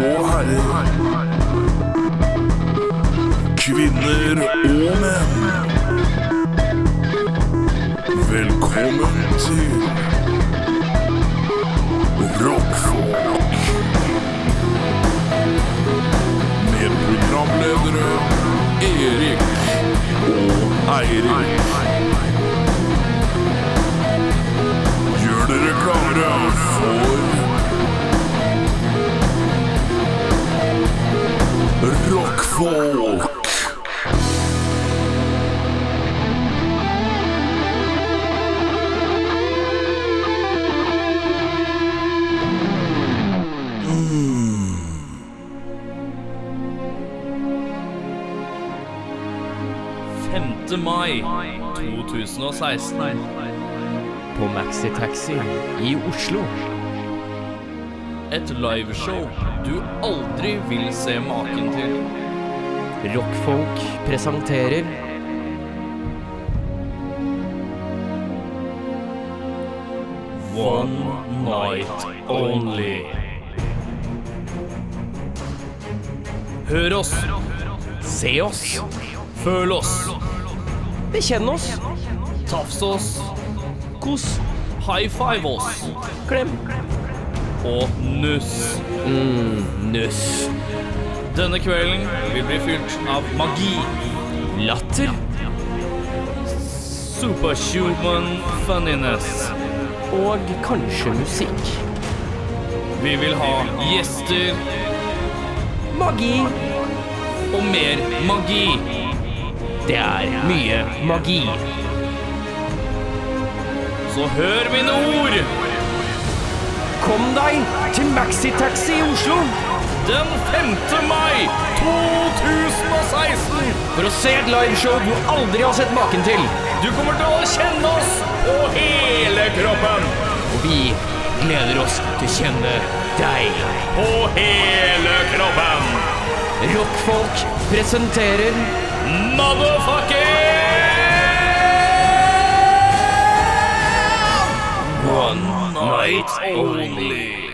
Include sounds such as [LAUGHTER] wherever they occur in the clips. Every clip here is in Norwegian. herrer. Kvinner og menn. Velkommen til Rockfolk. Med programledere Erik og Eirik. Gjør dere klare for Rockfolk. femte mai 2016 på Maxi Taxi i Oslo. Et liveshow du aldri vil se maken til Rockfolk presenterer One night only Hør oss, Se oss, føl oss, bekjenn oss, tafs oss, kos, high five oss klem, og nuss nuss, Denne kvelden vil bli fylt av magi, latter superhuman funniness og kanskje musikk. Vi vil ha gjester Magi. og mer magi Det er mye magi. Så hør mine ord! Kom deg til Maxi Taxi i Oslo den 5. mai 2016. for å se et liveshow du aldri har sett maken til. Du kommer til å kjenne oss på hele kroppen. Og vi gleder oss til å kjenne deg. På hele kroppen. Rockfolk presenterer Motherfucking One night only.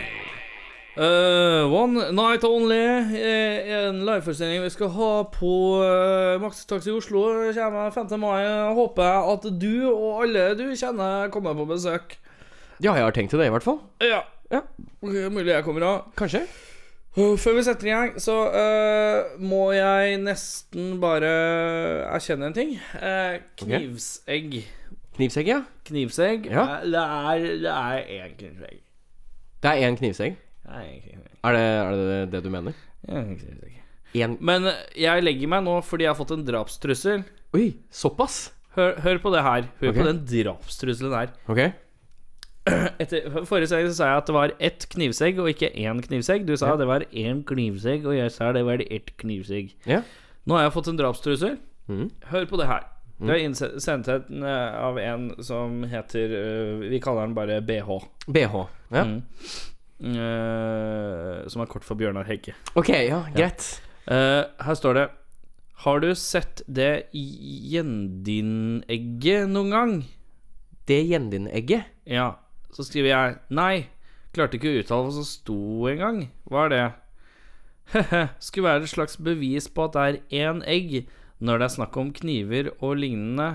Eh, One Night Only eh, er en liveforestilling vi skal ha på uh, Maxitax i Oslo. Kommer 5. mai. Jeg håper at du og alle du kjenner, kommer på besøk. Ja, jeg har tenkt til det, i hvert fall. Ja. Ja. Det er Mulig jeg kommer av. Kanskje. Uh, Før vi setter i gang, så uh, må jeg nesten bare erkjenne en ting. Uh, knivsegg. Knivsegg, ja. Knivsegg Ja. er- det, er, det er én knivsegg. Det er én knivsegg. Det er én knivsegg. Er det, er det det du mener? Det er én knivsegg. En Men uh, jeg legger meg nå fordi jeg har fått en drapstrussel. Oi, såpass? Hør, hør på det her. Hør Ok. på den drapstrusselen her. Ok. Etter, forrige sending så sa jeg at det var ett knivsegg og ikke én knivsegg. Du sa det var én knivsegg, og jeg sa det var ett knivsegg. Ja. Nå har jeg fått en drapstrussel. Mhm. Hør på det her. Det er innsendt en, eh, av en som heter eh, Vi kaller han bare BH. BH. Ja. Mm. eh, som er kort for Bjørnar Hegge. Ok, ja, greit. Eh, her står det Har du sett det gjendinegget noen gang? Det gjendinegget. Ja. Så skriver jeg Nei. Klarte ikke å uttale hva som sto engang. Hva er det? Hehe. Skulle være et slags bevis på at det er én egg når det er snakk om kniver og lignende,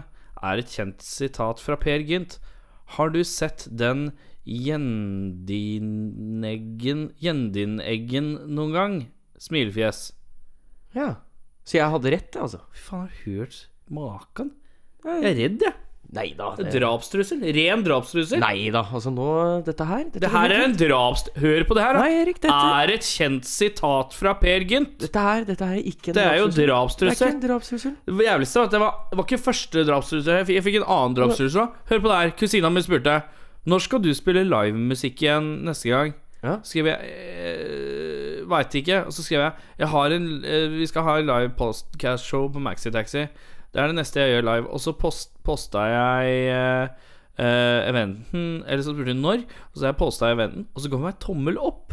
er et kjent sitat fra Per Gynt. Har du sett den gjendineggen Gjendineggen noen gang? Smilefjes. Ja. Så jeg hadde rett, altså. Fy faen, har du hørt maken? Jeg er redd, jeg. Nei da. Det... Drapstrussel. Ren drapstrussel. Nei da. Altså, nå Dette her Dette Det her går er en draps... Hør på det her, ikke. da. Nei, Erik, dette er et kjent sitat fra Per Gynt. Dette her, dette her er ikke en Det er jo drapstrussel. Det er ikke drapstrussel. en drapstrussel. Det jævligste var at det var, det var ikke første drapstrussel. Jeg fikk- Jeg fikk en annen drapstrussel òg. Hør på det her. Kusina mi spurte når skal du spille livemusikk igjen neste gang. Ja. Skrev jeg eh, Veit ikke. Og så skrev jeg, jeg har en, eh, Vi skal ha en live podcast-show på Maxitaxi. Det er det neste jeg gjør live. Og så post, posta jeg eh, eh, eventen Eller så spurte hun når, og så jeg posta eventen, og så kom jeg tommel opp.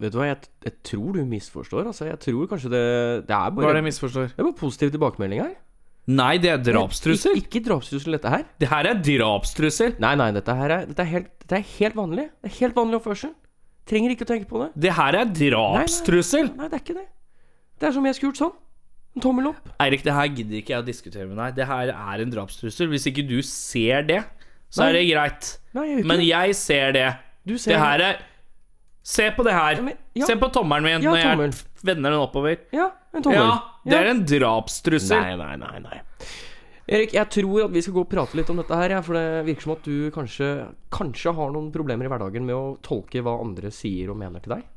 Vet du hva, jeg, jeg tror du misforstår, altså. Jeg tror kanskje det Det er Hva bare er det jeg misforstår? Det er bare positiv tilbakemelding her. Nei, det er drapstrussel. Ikke, ikke drapstrussel, dette her. Det her er drapstrussel. Nei, nei, dette her er, dette er, helt, dette er helt vanlig. Det er helt vanlig oppførsel. Trenger ikke å tenke på det. Det her er drapstrussel! Nei, det er ikke det. Det er som jeg skulle gjort sånn. En tommel opp. Eirik, det her gidder ikke jeg å diskutere med deg. Det her er en drapstrussel. Hvis ikke du ser det, så Nei. er det greit. Nei, jeg gjør ikke Men det. jeg ser det. Du ser Det her er Se på det her. Ja, men- ja. Se på tommelen min Ja, når jeg tommel. vender den oppover. Ja, en tommel. Ja, det Ja. er en drapstrussel. Nei, nei, nei, nei. Erik, jeg tror at vi skal gå og prate litt om dette her, ja, for det virker som at du kanskje, kanskje har noen problemer i hverdagen med å tolke hva andre sier og mener til deg.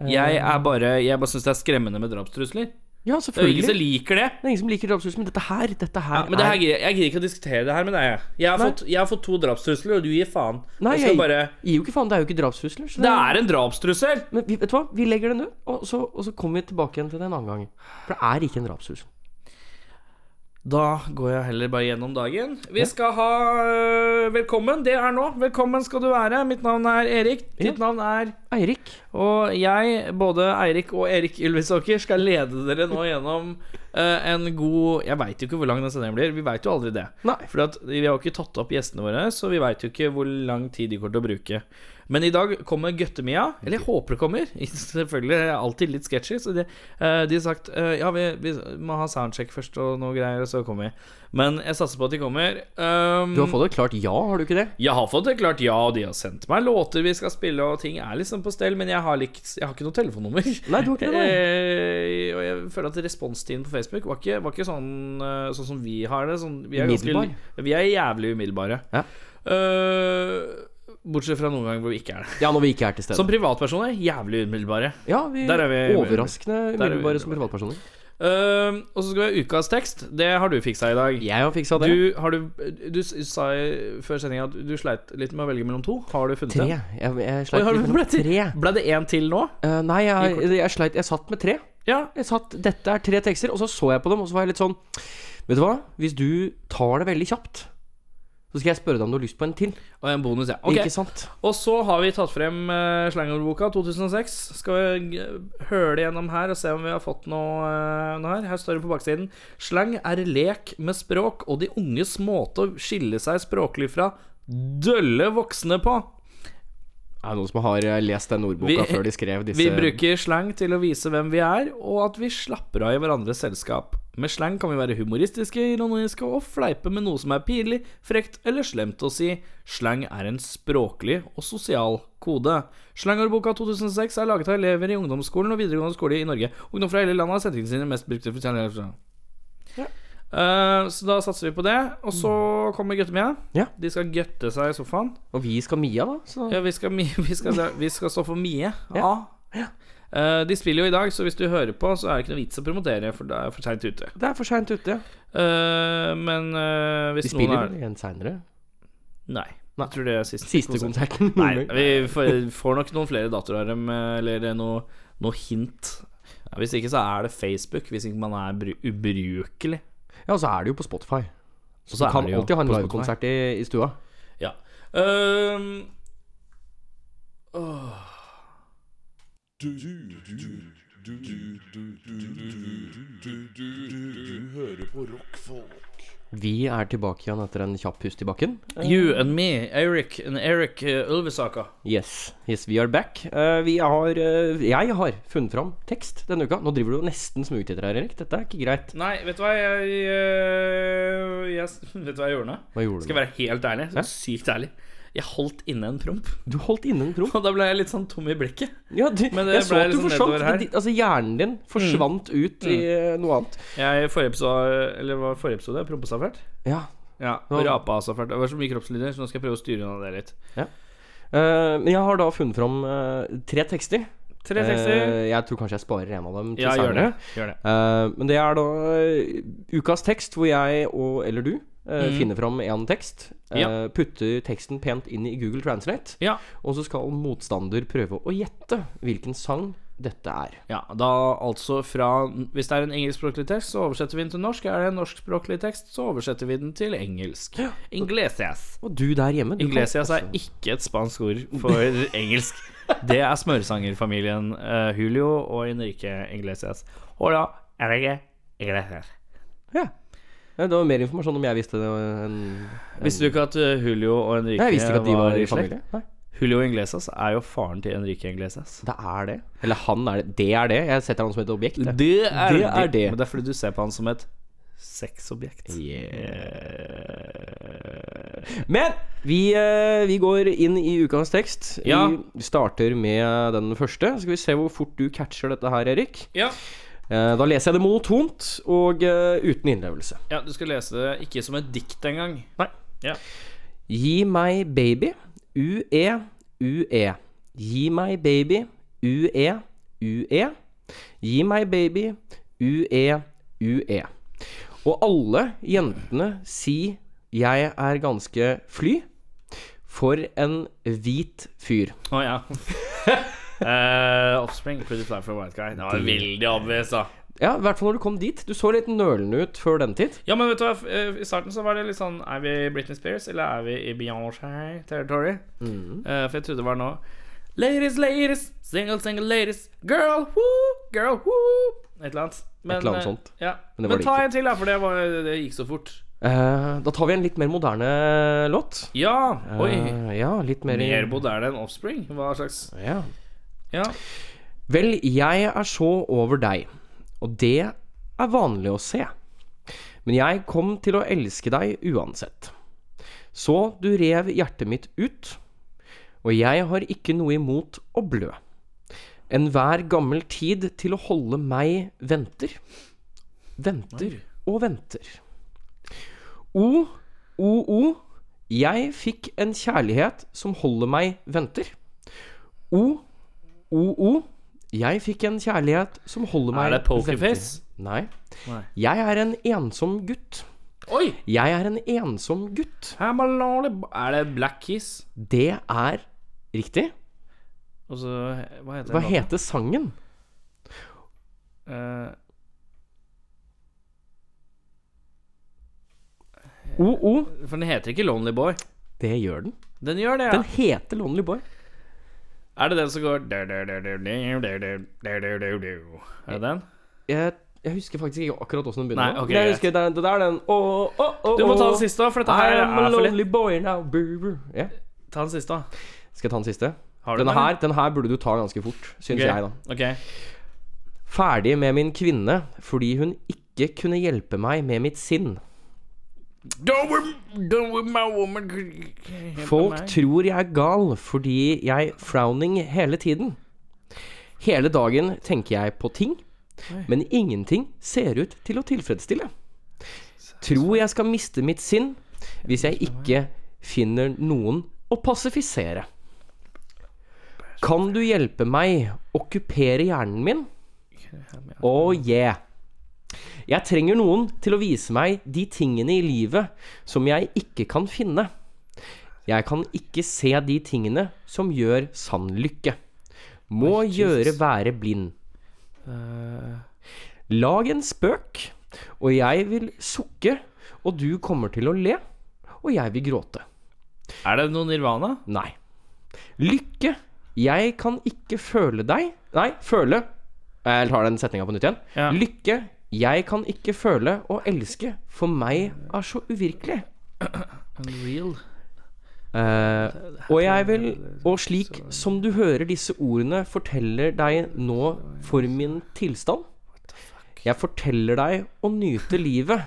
Eh. Jeg er bare Jeg bare syns det er skremmende med drapstrusler. Ja, Det er jo ingen som selvfølgelig. liker det. Det er ingen som liker drapstrusler, men dette her, dette her, Men det her, er gidder- jeg gidder ikke å diskutere det her med deg. jeg. Jeg har, Nei. fått, jeg har fått to drapstrusler, og du gir faen. Nei, jeg jeg skal bare gir jo ikke faen, det er jo ikke drapstrusler. så Det er en drapstrussel! Men vi, vet du hva, vi legger den død, og så, og så kommer vi tilbake igjen til det en annen gang. For det er ikke en drapstrussel. Da går jeg heller bare gjennom dagen. Vi skal ha øh, Velkommen, det er nå. Velkommen skal du være. Mitt navn er Erik. Ditt navn er Eirik, Og jeg, både Eirik og Erik Ylvisåker, skal lede dere nå gjennom eh, en god Jeg veit jo ikke hvor lang den sendingen blir. Vi veit jo aldri det. Nei. For at vi har jo ikke tatt opp gjestene våre, så vi veit jo ikke hvor lang tid de kommer til å bruke. Men i dag kommer Gøttemia. Eller jeg håper det kommer. [LAUGHS] Selvfølgelig er jeg alltid litt sketchy. Så de, eh, de har sagt eh, ja, vi, vi må ha soundcheck først og noe greier, og så kommer vi. Men jeg satser på at de kommer. Um, du har fått et klart ja, har du ikke det? jeg har fått det klart ja, og de har sendt meg låter vi skal spille, og ting er liksom på stell, men jeg har, likt, jeg har ikke noe telefonnummer. [LAUGHS] Nei, du har ikke det, nei. Eh, og jeg føler at responstiden på Facebook var ikke, var ikke sånn, eh, sånn som vi har det. Sånn, vi, er ganske, Umiddelbar. vi er jævlig umiddelbare. Ja. Eh, bortsett fra noen ganger hvor vi ikke er det. Ja, når vi ikke er til Som stede. privatpersoner jævlig umiddelbare. Ja, vi, Der er vi- overraskende Der er vi- umiddelbare som privatpersoner. Eh, og så skal vi ha ukas tekst. Det har du fiksa i dag. Jeg har fiksa det. Du, har du, du s- sa i- før sendinga at du sleit litt med å velge mellom to. Har du funnet Tre. en? Jeg, jeg Oi, sleit har litt du mellom blitt- tre. Ble det én til nå? Eh, nei, jeg, I jeg sleit Jeg satt med tre. Ja, Jeg satt, Dette er tre tekster, og så så jeg på dem, og så var jeg litt sånn Vet du hva, hvis du tar det veldig kjapt, så skal jeg spørre deg om du har lyst på en til. Og en bonus, ja. Ok, Ikke sant? Og så har vi tatt frem uh, slangordboka 2006. Skal vi eh, høle gjennom her og se om vi har fått noe, eh, noe her. Her står det på baksiden. Slang er lek med språk og de unges måte å skille seg språklig fra dølle voksne på. Er det noen som har eh, lest den ordboka Vi- før de skrev disse Vi bruker slang til å vise hvem vi er, og at vi slapper av i hverandres selskap. Med slang kan vi være humoristiske, ironiske og fleipe med noe som er pinlig, frekt eller slemt å si. Slang er en språklig og sosial kode. Slangordboka 2006 er laget av elever i ungdomsskolen og videregående skole i Norge. Ungdom fra hele landet har sendt inn sine mest brukte fortellinger. Eh, så da satser vi på det. Og så kommer Gøttemia. Ja. De skal gøtte seg i sofaen. Og vi skal Mia, da. Så Ja, vi skal, mi- [LAUGHS] vi skal, vi skal stå for Mie. Ja. Eh, de spiller jo i dag, så hvis du hører på, så er det ikke noe vits å promotere, for da er jeg for seint ute. det er for seint ute. Eh, men eh, hvis Vi spiller noen er vel igjen seinere. Nei. Nei. Jeg tror det er siste, Siste konserten. Nei, vi får, får nok noen flere datoer, eh, eller noe, noe hint. Ja, hvis ikke så er det Facebook, hvis ikke man er bru ubrukelig. Ja, og så er det jo på Spotify. Så, Du så kan er det jo alltid ha en på Spotify. livekonsert i, i stua. Ja. Ehm, Du, du, du, du, du, du, du, du, du, du, du hører på rockfolk. Vi er tilbake igjen etter en kjapp pust i bakken. you and me, Eric and Eric eh, Ulvesaker. Yes, yes, we are back. Eh, vi har, eh, jeg har funnet fram tekst denne uka. Nå driver du jo nesten smugtitter her, Erik. Dette er ikke greit. Nei, vet du hva jeg, øh, jeg [LAUGHS] Vet du hva jeg gjorde nå? Hva gjorde Skal jeg du? være helt ærlig? Så sykt ærlig. Jeg holdt inne en promp, [LAUGHS] Du holdt inne en promp. og da ble jeg litt sånn tom i blikket. Ja, du, Men det jeg så ble at du liksom forsvant. nedover her. Mm. Di- Altså, hjernen din forsvant ut i eh, noe annet. Jeg i forrige episode Eller var det forrige episode? jeg Prompa seg fælt? Ja. Ja. Og rapa seg fælt. Det var så mye kroppslyder, så nå skal jeg prøve å styre unna det litt. Eh, men jeg har da funnet fram eh, tre tekster. Tre tekster. Eh, jeg tror kanskje jeg sparer en av dem til Ja, gjør det. senere. Gjør det. Eh, men det er da eh, ukas tekst hvor jeg og eller du eh, finner fram en tekst. eh, Ja. Putter teksten pent inn i Google Translate. Ja. Og så skal motstander prøve å gjette hvilken sang dette er. ja. Da altså fra Hvis det er en engelskspråklig tekst, så oversetter vi den til norsk. Er det en norskspråklig tekst, så oversetter vi den til engelsk. Inglesias. Og du der hjemme du kan Iglesias er også- ikke et spansk ord for [LAUGHS] engelsk. Det er smørsangerfamilien eh, Julio og Enrique Iglesias. Hola, Enrique Iglesias. ja. ja, Det var mer informasjon om jeg visste det. enn- Visste du ikke at eh, Julio og Enrique Nei, jeg visste ikke at de var i i slekt? familie. Nei. Julio Inglesas er jo faren til Enrique Inglesas. Det er det. Eller han er det. Det er det. Jeg setter han som et objekt. jeg. Det er Det er det. Men det er fordi du ser på han som et sexobjekt. Eh. Men vi, eh, vi går inn i ukas tekst. Ja. Vi starter med den første. Så skal vi se hvor fort du catcher dette her, Erik. Ja. Eh, Da leser jeg det monotont og eh, uten innlevelse. ja, du skal lese det ikke som et dikt engang. Nei. Ja. Gi meg baby, UE, UE. E. Gi meg baby, UE, UE. E. Gi meg baby, UE, UE. E. Og alle jentene si 'jeg er ganske fly'. For en hvit fyr. Å [LAUGHS] ja. Eh, offspring, Pretty Fly for a White Guy. Det var veldig obvious, da. Ja, I hvert fall når du kom dit. Du så litt nølende ut før den tid. Ja, men vet du hva, eh, i starten så var det litt sånn Er vi i Britney Spears, eller er vi i Beyoncé territory? Eh, for jeg trodde det var nå Ladies, ladies, single, single ladies Girl, woo, girl, woo Et eller annet Men, Et eller annet eh, sånt. ja. Men, Men det var det ta ikke. en til da, for det, var, det gikk så fort Eh, da tar vi en litt mer moderne låt. Ja, oi Eh, ja, litt mer, i- Mer moderne enn Offspring Hva slags Ja. Ja, Vel, jeg er så over deg, og det er vanlig å se. Men jeg kom til å elske deg uansett. Så du rev hjertet mitt ut, og jeg har ikke noe imot å blø. Enhver gammel tid til å holde meg venter. Venter og venter. O, o, o. Jeg fikk en kjærlighet som holder meg venter. O, o, o. Jeg fikk en kjærlighet som holder meg er det Pokerface? Nei. Nei. Jeg er en ensom gutt. Oi, Jeg er en ensom gutt. I'm a lonely bo- Er det Black Kiss? Det er riktig. Og så, hva heter Hva den heter sangen? låten? O-O. Eh, For den heter ikke Lonely Boy Det gjør den. Den gjør det, ja Den heter Lonely Boy. Er det den som går Er det den? Jeg, jeg husker faktisk ikke akkurat åssen den begynner. Nei, ok, Men jeg greit. husker det, er- det er den Å, å, å, Du må ta den å. siste, da, for dette her I'm a er for lett. lonely boy now, baby. Ja. Ta den siste, da. Skal jeg ta den siste? Har du Denne den, her, den her burde du ta ganske fort, syns Ok. jeg, da. Ok. Ferdig med min kvinne fordi hun ikke kunne hjelpe meg med mitt sinn. Don't with, don't with my woman Folk tror jeg er gal fordi jeg frowning hele tiden. Hele dagen tenker jeg på ting, men ingenting ser ut til å tilfredsstille. Tror jeg skal miste mitt sinn hvis jeg ikke finner noen å pasifisere. Kan du hjelpe meg okkupere hjernen min? Oh yeah. Jeg trenger noen til å vise meg de tingene i livet som jeg ikke kan finne. Jeg kan ikke se de tingene som gjør sann lykke. Må Oi, Jesus. gjøre være blind. Eh, Lag en spøk, og jeg vil sukke, og du kommer til å le, og jeg vil gråte. Er det noe Nirvana? Nei. Lykke, jeg kan ikke føle deg Nei, føle Jeg tar den setninga på nytt igjen. Ja. Lykke, jeg kan ikke føle og elske, for meg er så uvirkelig. Unreal. Eh, og jeg vil Og slik som du hører disse ordene, forteller deg nå for min tilstand. Jeg forteller deg å nyte livet.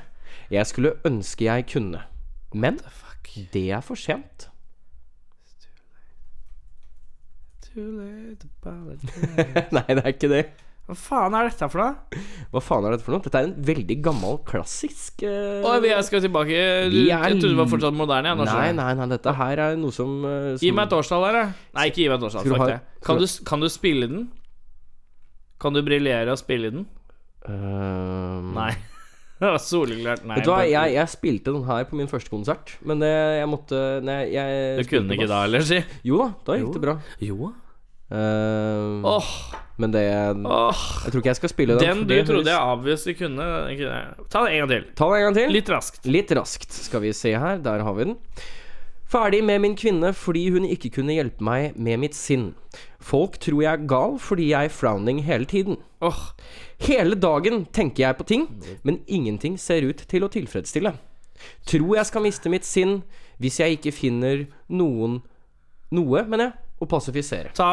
Jeg skulle ønske jeg kunne. Men Fuck. det er for sent. [LAUGHS] Too late to [LAUGHS] apologize. Nei, det er ikke det. Hva faen er dette for noe? Hva faen er dette for noe? Dette er en veldig gammel, klassisk eh, Oi, vi er- skal tilbake. Du, Vi er- jeg trodde det var fortsatt moderne. Jeg, nå Nei, skjønner jeg. nei, nei, dette her er noe som, eh, som Gi meg et årstall her, da. Nei, ikke gi meg et årstall. Skal du Fuck ha- det. Kan du, kan du spille den? Kan du briljere og spille den? Eh, Nei. [LAUGHS] Det var Soleklart nei. Vet du hva, bare- jeg, jeg spilte den her på min første konsert, men det, jeg måtte Nei, Du jeg kunne spilte ikke da bass. heller, si. Jo da, da gikk det bra. Jo. Eh, Åh, Men det åh. Jeg tror ikke jeg skal spille den. Den for du det trodde høres- jeg obviously kunne. kunne. Ta det en gang til. Ta den en gang til. Litt raskt. Litt raskt skal vi se her. Der har vi den. Ferdig med min kvinne fordi hun ikke kunne hjelpe meg med mitt sinn. Folk tror jeg er gal fordi jeg er frowning hele tiden. Åh, Hele dagen tenker jeg på ting, men ingenting ser ut til å tilfredsstille. Tror jeg skal miste mitt sinn hvis jeg ikke finner noen Noe, mener jeg, å pasifisere. Ta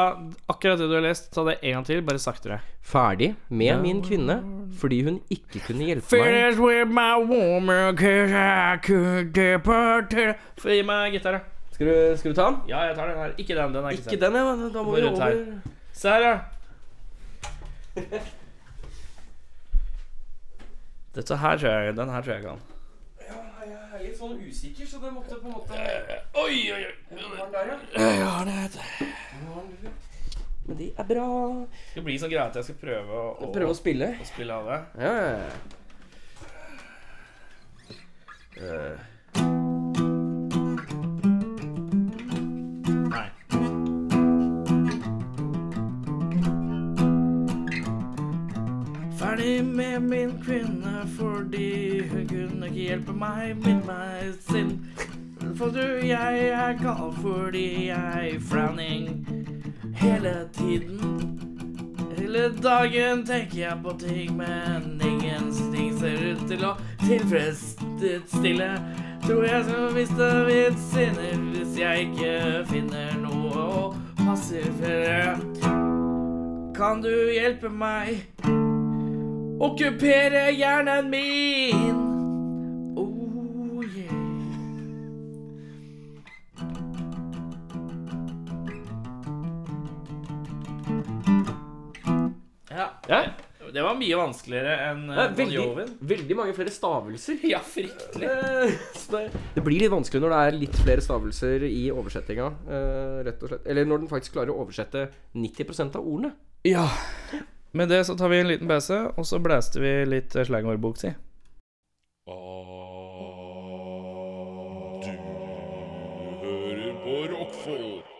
akkurat det du har lest, ta det en gang til, bare saktere. Ferdig med min kvinne fordi hun ikke kunne hjelpe meg. Finish with my woman, cause I could depart Gi meg gitaren. Skal du, skal du ta den? Ja, jeg tar den her. Ikke den. Den er ikke, Ikke den, ja. men Da Bare må vi rundt her. over sett. Se her, [LAUGHS] ja. Dette her tror jeg Den her tror jeg kan. Jeg er litt sånn usikker, så det måtte på en måte Oi, oi, oi. Jeg har det. vet du. Men det er bra. Det blir sånn greie at jeg skal prøve å, å, Prøve å spille. å spille av det. Ja, ja, ja. Nei. Ferdig med min kvinne fordi hun kunne ikke hjelpe meg med meg sin. For du, jeg er gal fordi jeg frowning hele tiden. Hele dagen tenker jeg på ting, men ingenting ser ut til å tilfredsstille. Tror jeg skal miste mitt sinne hvis jeg ikke finner noe å passivere. Kan du hjelpe meg? Okkupere hjernen min. Oh yeah. Ja. ja. Det var mye vanskeligere enn Det eh, er Bon veldig, Jovin. veldig mange flere stavelser. Ja, fryktelig. Eh, så det, det blir litt vanskelig når det er litt flere stavelser i oversettinga. eh, rett og slett. Eller når den faktisk klarer å oversette 90 av ordene. Ja. Med det så tar vi en liten pause, og så blæste vi litt eh, slangordbok, si. Ah, Du hører på rockfolk.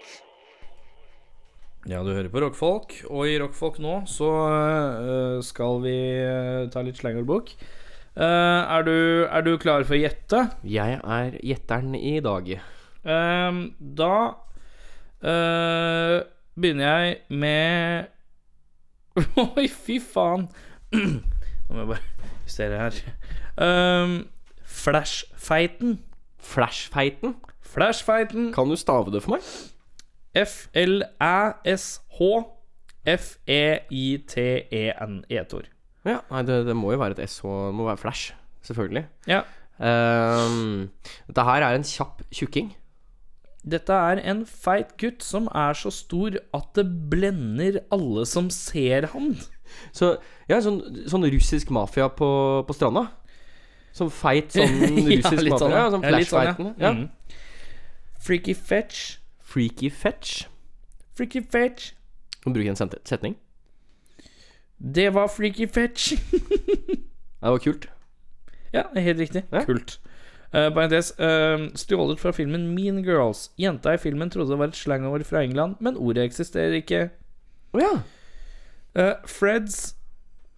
Ja, du hører på rockfolk, og i rockfolk nå så øh, skal vi øh, ta litt slangordbok. Eh, er, du, er du klar for å gjette? Jeg er gjetteren i dag. Ehm, da øh, begynner jeg med [LAUGHS] Oi, fy faen! [CLEARS THROAT] nå må jeg bare justere her. Ehm, Flashfeiten. Flashfeiten. Flashfeiten. Kan du stave det for meg? F-L-Æ-S-H E F-E-I-T-E-N E-tor Ja, nei, det, det må jo være et SH. Det må være flash, selvfølgelig. Ja, Ehm, dette her er en kjapp tjukking. dette er en feit gutt som er så stor at det blender alle som ser han Så ja, sånn, sånn russisk mafia på, på stranda. Sånn feit [LAUGHS] sånn russisk litt mafia. sånn, ja, sånn Ja, litt sånn, ja. flashfeiten. ja. Mm. Freaky fetch Freaky fetch. Freaky fetch Nå bruker jeg en sent- setning. Det var freaky fetch [LAUGHS] Ja, det var kult. Ja, helt riktig Ja. Kult Eh, Parentes eh, Stjålet fra filmen Mean Girls Jenta i filmen trodde det var et slangord fra England Men ordet eksisterer ikke Å ja. Eh, Freds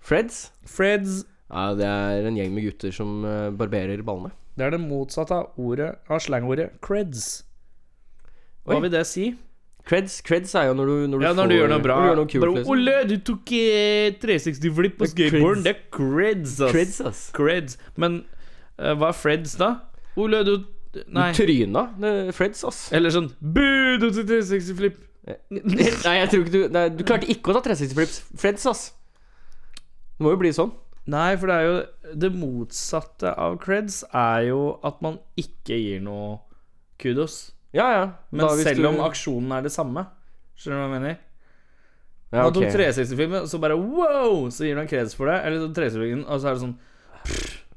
Freds. Freds Ja, det er en gjeng med gutter som eh, barberer ballene. Det er det motsatte av, ordet, av slangordet creds. Oi. Hva vil det si? Creds, creds er jo når du, når du Ja, når får- du gjør noe bra. Når du gjør noe kult, Bro, liksom. Ole, du tok eh, 360-flipp på Det er creds. skateboarden. Det er creds, ass. Creds, ass. Creds. Men eh, hva er freds, da? Ole, du Nei. Du tryna. Det er Freds, ass. Eh, Eller sånn Bu, du tok 360-flipp. Nei, jeg tror ikke du nei, Du klarte ikke å ta 360 flips. Freds, ass. Det må jo bli sånn. Nei, for det er jo Det motsatte av creds er jo at man ikke gir noe kudos. Ja, ja. Men Da hvis selv du- om aksjonen er det samme. Skjønner du hva jeg mener? ja, Han ok. tok 360-filmen, og så bare wow! Så gir han kreds for det. Eller så 360-filmen, og så er det sånn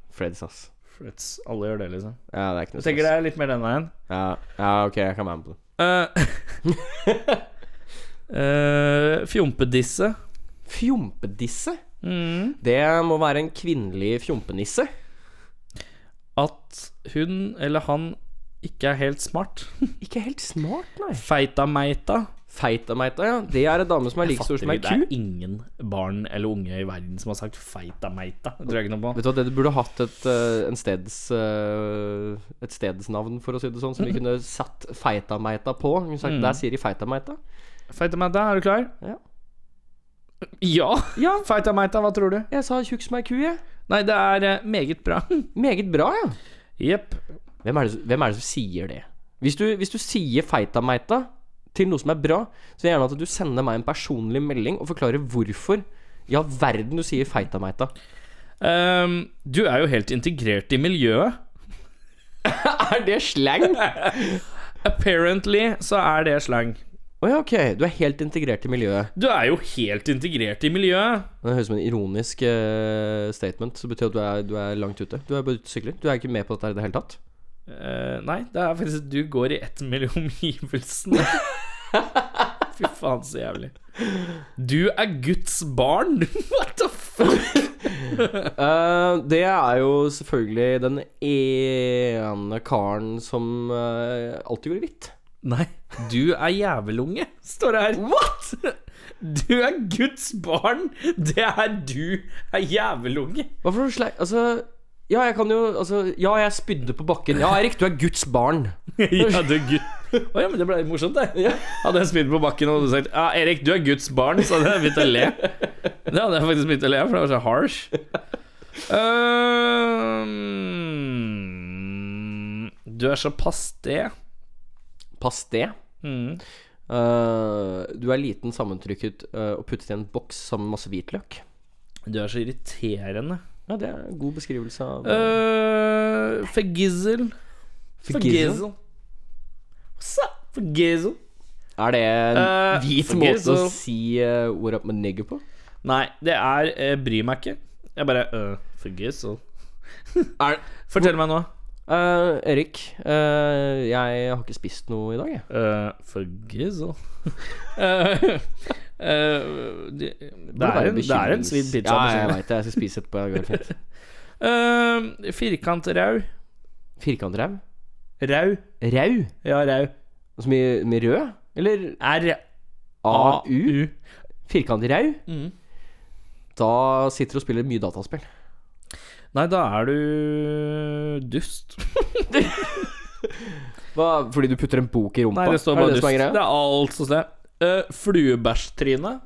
Freds, ass. Freds, alle gjør det, liksom. Ja, det er ikke Jeg noe tenker det stress. er litt mer den veien. Ja, ja, ok, jeg kan være med på det. Eh, [LAUGHS] eh, Fjompedisse. Fjompenisse? Mm. Det må være en kvinnelig fjompenisse. At hun eller han ikke er helt smart. Ikke helt smart, nei. Feitameita. Feitameita, ja. Det er en dame som er like stor som ei det ku. er ingen barn eller unge i verden som har sagt feitameita. Det tror jeg ikke noe på. Vet du hva, det du burde hatt et, eh, en steds, eh, et stedsnavn, for å si det sånn, som vi kunne satt Feitameita på. Vi kunne sagt, Der sier de Feitameita. Feitameita, er du klar? Mm. Ja. Ja! ja. Feitameita, hva tror du? Jeg sa tjukk som ei ku, jeg. Nei, det er eh, meget bra. [LAUGHS] Meget bra, ja. Jepp. Hvem er det, som- hvem er det som sier det? Hvis du, hvis du sier Feitameita, til noe som er bra, så vil jeg gjerne at du sender meg en personlig melding og forklarer hvorfor i all verden du sier feitameita. Ehm, du er jo helt integrert i miljøet. Er det slang? Å Apparently så er det slang. ja, ok. Du er helt integrert i miljøet. Du er jo helt integrert i miljøet. Det høres ut som en ironisk eh, statement. Så betyr det at du er, du er langt ute. Du er bare ute og sykler. Du er ikke med på dette her i det hele [LAUGHS] tatt. Eh, nei, det er faktisk at du går i ett med omgivelsene. Fy faen, så jævlig. Du er Guds barn? What the fuck? Eh, det er jo selvfølgelig den ene karen som eh, alltid går i hvitt. Nei, du er jævelunge, står det her. What?! Du er Guds barn! Det er du er jævelunge. Hva for noe slang Altså ja, jeg kan jo altså, Ja, jeg spydde på bakken. Ja, Erik, du er Guds barn. [LAUGHS] Ja, du er Gud... Å ja, men det ble litt morsomt, det. Hadde jeg spilt på bakken og du sagt Ja, Erik, du er Guds barn, så hadde jeg begynt å le. Det hadde jeg faktisk begynt å le av, for det var så harsh. Øhm, du er så pasté. Pass det. Mm. Eh, du er liten, sammentrykket eh, og puttet i en boks sammen med masse hvitløk. Du er så irriterende. Ja, det er en god beskrivelse av Eh, eh, Uh, Fegizel. Fegizel. What's up, Fegizel? Er det en eh, hvit forgiss, måte å og- si uh, 'what up med nigger' på? Nei, det er eh, Bry meg ikke. Jeg bare uh, Fegizel. Er, Fortell meg nå. Eh, Erik, eh, jeg har ikke spist noe i dag, jeg. Uh, Fegizel. [LAUGHS] Eh, eh, det, det, Burde er være en, det er en bekymrings- sweet pizza. altså. liksom. Ja, jeg veit det. Jeg skal spise etterpå. Det går helt fint. Uh, Firkantrau. Firkantrev. Rau. Rau. Ja, rau. Som i med rød? Eller AU? R-A-U. Firkantrau? Mm. Da sitter du og spiller mye dataspill. Nei, da er du dust. Hva, fordi du putter en bok i rumpa? Nei, det står Er bare det, dust. som er Det greia? er alt som står. Uh, Fluebæsjtryne.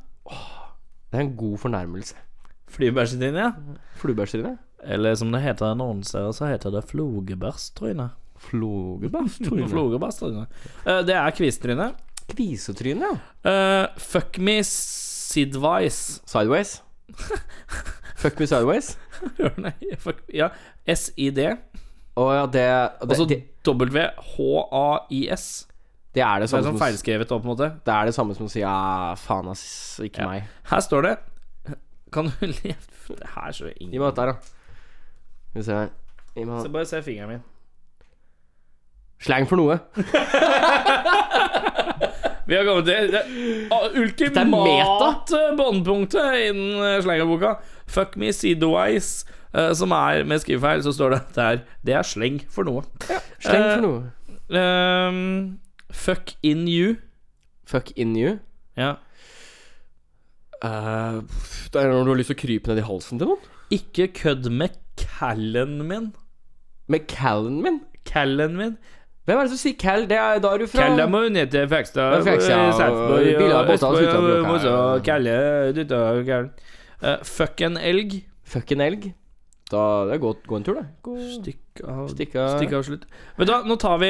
det er en god fornærmelse. Fluebæsjtryne, ja. Fluebærstryne? Eller som det heter noen steder, så heter det flogebæsjtryne. [LAUGHS] Flogebærstryne? Flogebæsjtryne. Eh, det er kvisttryne. Kvisetryne, ja. Eh, fuck me sidewise. Sideways. [LAUGHS] Fuck me sideways. Nei, fuck, ja. SID. Å ja, det det, Altså det, WHAIS. det er det Det er sånn samme som å s- feilskrevet òg, på en måte. det er det samme som å si ja, faen ass, ikke Ja. meg. Her står det Kan du leve Det her er så Gi ingen meg dette her, da. Skal vi se her. Gi meg Så Bare se fingeren min. Slang for noe. Vi har kommet til det ah, er ultimate båndpunktet innen eh, slengerboka. Fuck me sidewise, eh, som er med skrivefeil, så står det at det er, det er sleng for noe. Slang Eh, for noe. Ehm, fuck in you. Fuck in you. Ja. Eh, det er når du har lyst til å krype ned i halsen til noen. Ikke kødd med callen min. Med callen min. Callen min. Hvem er det som sier cal? Det er, da er du fra Callamon heter Fekstad. eh, Ja, Fekstad, og biler er båter, slutter å bruke. Kalle dytter callen. Eh, Fuck en elg. Fuck en elg. Da det er gå, gå en tur, da. Gå. Stikk av Stikk av. Stikk av slutt. Vet du hva, nå tar vi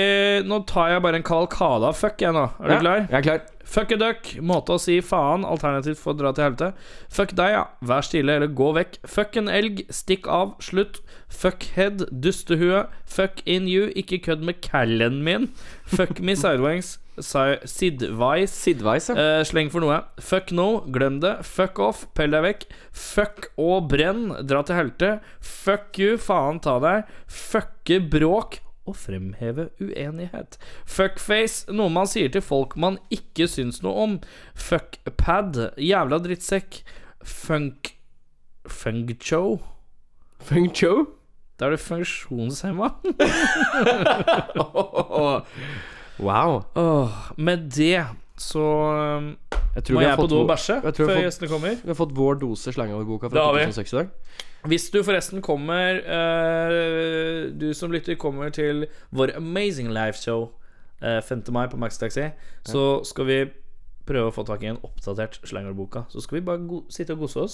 Nå tar jeg bare en kavalkade av fuck, jeg nå. Er du Ja, klar? Jeg er klar. Fuck a duck. Måte å si faen, alternativt for å dra til helvete. Fuck deg, ja. Vær stille eller gå vekk. Fuck en elg. Stikk av. Slutt. Fuck head. Dustehue. Fuck in you. Ikke kødd med callen min. Fuck me sideways. Si- Sidewise. Sidveis, ja. [LAUGHS] Eh, sleng for noe. Fuck no, glem det. Fuck off, pell deg vekk. Fuck og brenn, dra til helte. Fuck you, faen ta deg. Fucke bråk og fremheve uenighet. Fuckface, noe man sier til folk man ikke syns noe om. Fuckpad, jævla drittsekk. Funk... Funkcho. Feng Cho. Da er du funksjonshemma. [LAUGHS] Wow. Åh, med det så um, Jeg tror må vi jeg har på fått do og vår- bæsje Jeg før tror jeg har fått, gjestene kommer. vi har fått vår dose slangeordboka Det fra har vi. 2006 i dag. Hvis du forresten kommer eh, Du som lytter kommer til vår Amazing Life Show eh, 5. mai på Max Taxi, så skal vi prøve å få tak i en oppdatert slangordboka. Så skal vi bare go sitte og kose oss.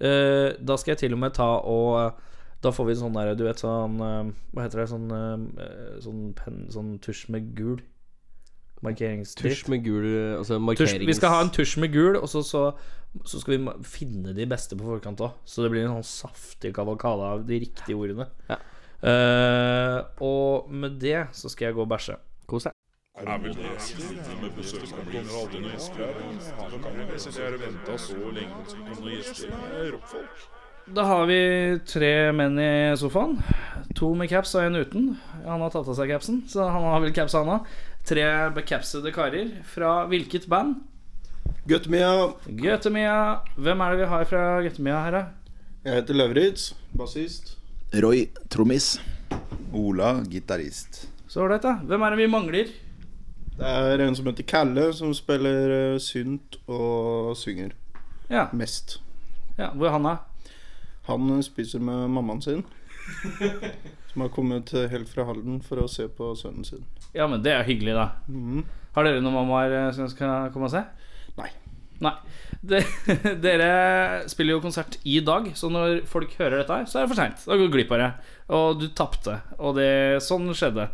Eh, da skal jeg til og med ta og Da får vi sånn der, du vet eh, sånn eh, Hva heter det? Sånn, eh, sånn, penn- sånn tusj med gul. Markeringsdritt. Tusj med gul eh, altså Tusj, markerings... vi skal ha en tusj med gul, og så, så, så skal vi ma- finne de beste på forkant òg. Så det blir en sånn saftig kavalkade av de riktige ordene. Ja. Eh, og med det så skal jeg gå og bæsje. Kos deg. Er vi gjester med besøk? Kommer aldri noen gjester her? Hvem er det? Jeg har venta så lenge på noen gjester. Det er Rockfolk. Da har vi tre menn i sofaen. To med caps og en uten. Han har tatt av seg capsen, så han har vel caps, han òg. Tre becapsede karer. Fra hvilket band? Guttemia, Gøtemia. Hvem er det vi har fra Gøtemia her, da? jeg heter Løvritz, bassist. Roy, trommis. Ola, gitarist. Så ålreit, da. Hvem er det vi mangler? Det er en som heter Kalle, som spiller eh, synt og synger Ja, mest. ja hvor er han, da? Han eh, spiser med mammaen sin, som har kommet helt fra Halden for å se på sønnen sin. Ja, men det er hyggelig, da. Mhm. Har dere noen mammaer eh, som skal komme og se? Nei. Nei. De, [LAUGHS] dere spiller jo konsert i dag, så når folk hører dette her, så er det for seint. Da går du glipp av det. Og du tapte. Og det, sånn skjedde.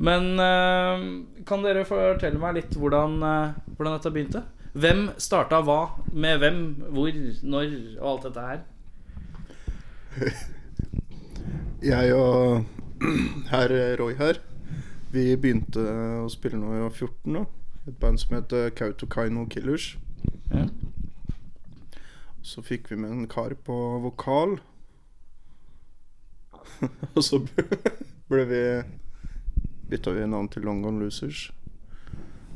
Men eh, kan dere fortelle meg litt hvordan, eh, hvordan dette begynte? Hvem starta hva? Med hvem? Hvor? Når? Og alt dette her. Jeg og [CLEARS THROAT] herr Roy her, vi begynte å spille nå i 14 da. Et band som heter Kautokeino Killers. Ja. Så fikk vi med en kar på vokal. [LAUGHS] Og så ble vi Bytta vi navn til Long Gone Losers.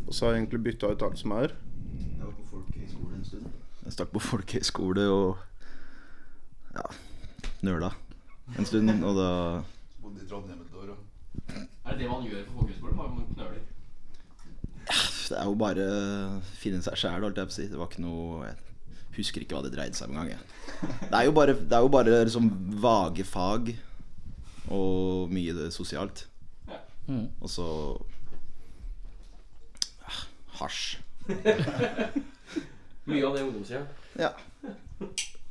Og så har jeg egentlig bytta ut alt som er. Jeg var på folkehøyskole en stund. Jeg stakk på folkehøyskole og ja, nøla en stund, og da Bodde i Trondheim et år, og Er det det man gjør på folkehøyskolen? Bare man knøler? Det er jo bare å finne seg sjæl, holdt jeg på å si. Det var ikke noe Jeg husker ikke hva det dreide seg om engang. jeg. Det er jo bare, det er jo bare liksom vage fag og mye det sosialt. Mm. Og så ah, hasj. Mye av det ungdomstida. Ja.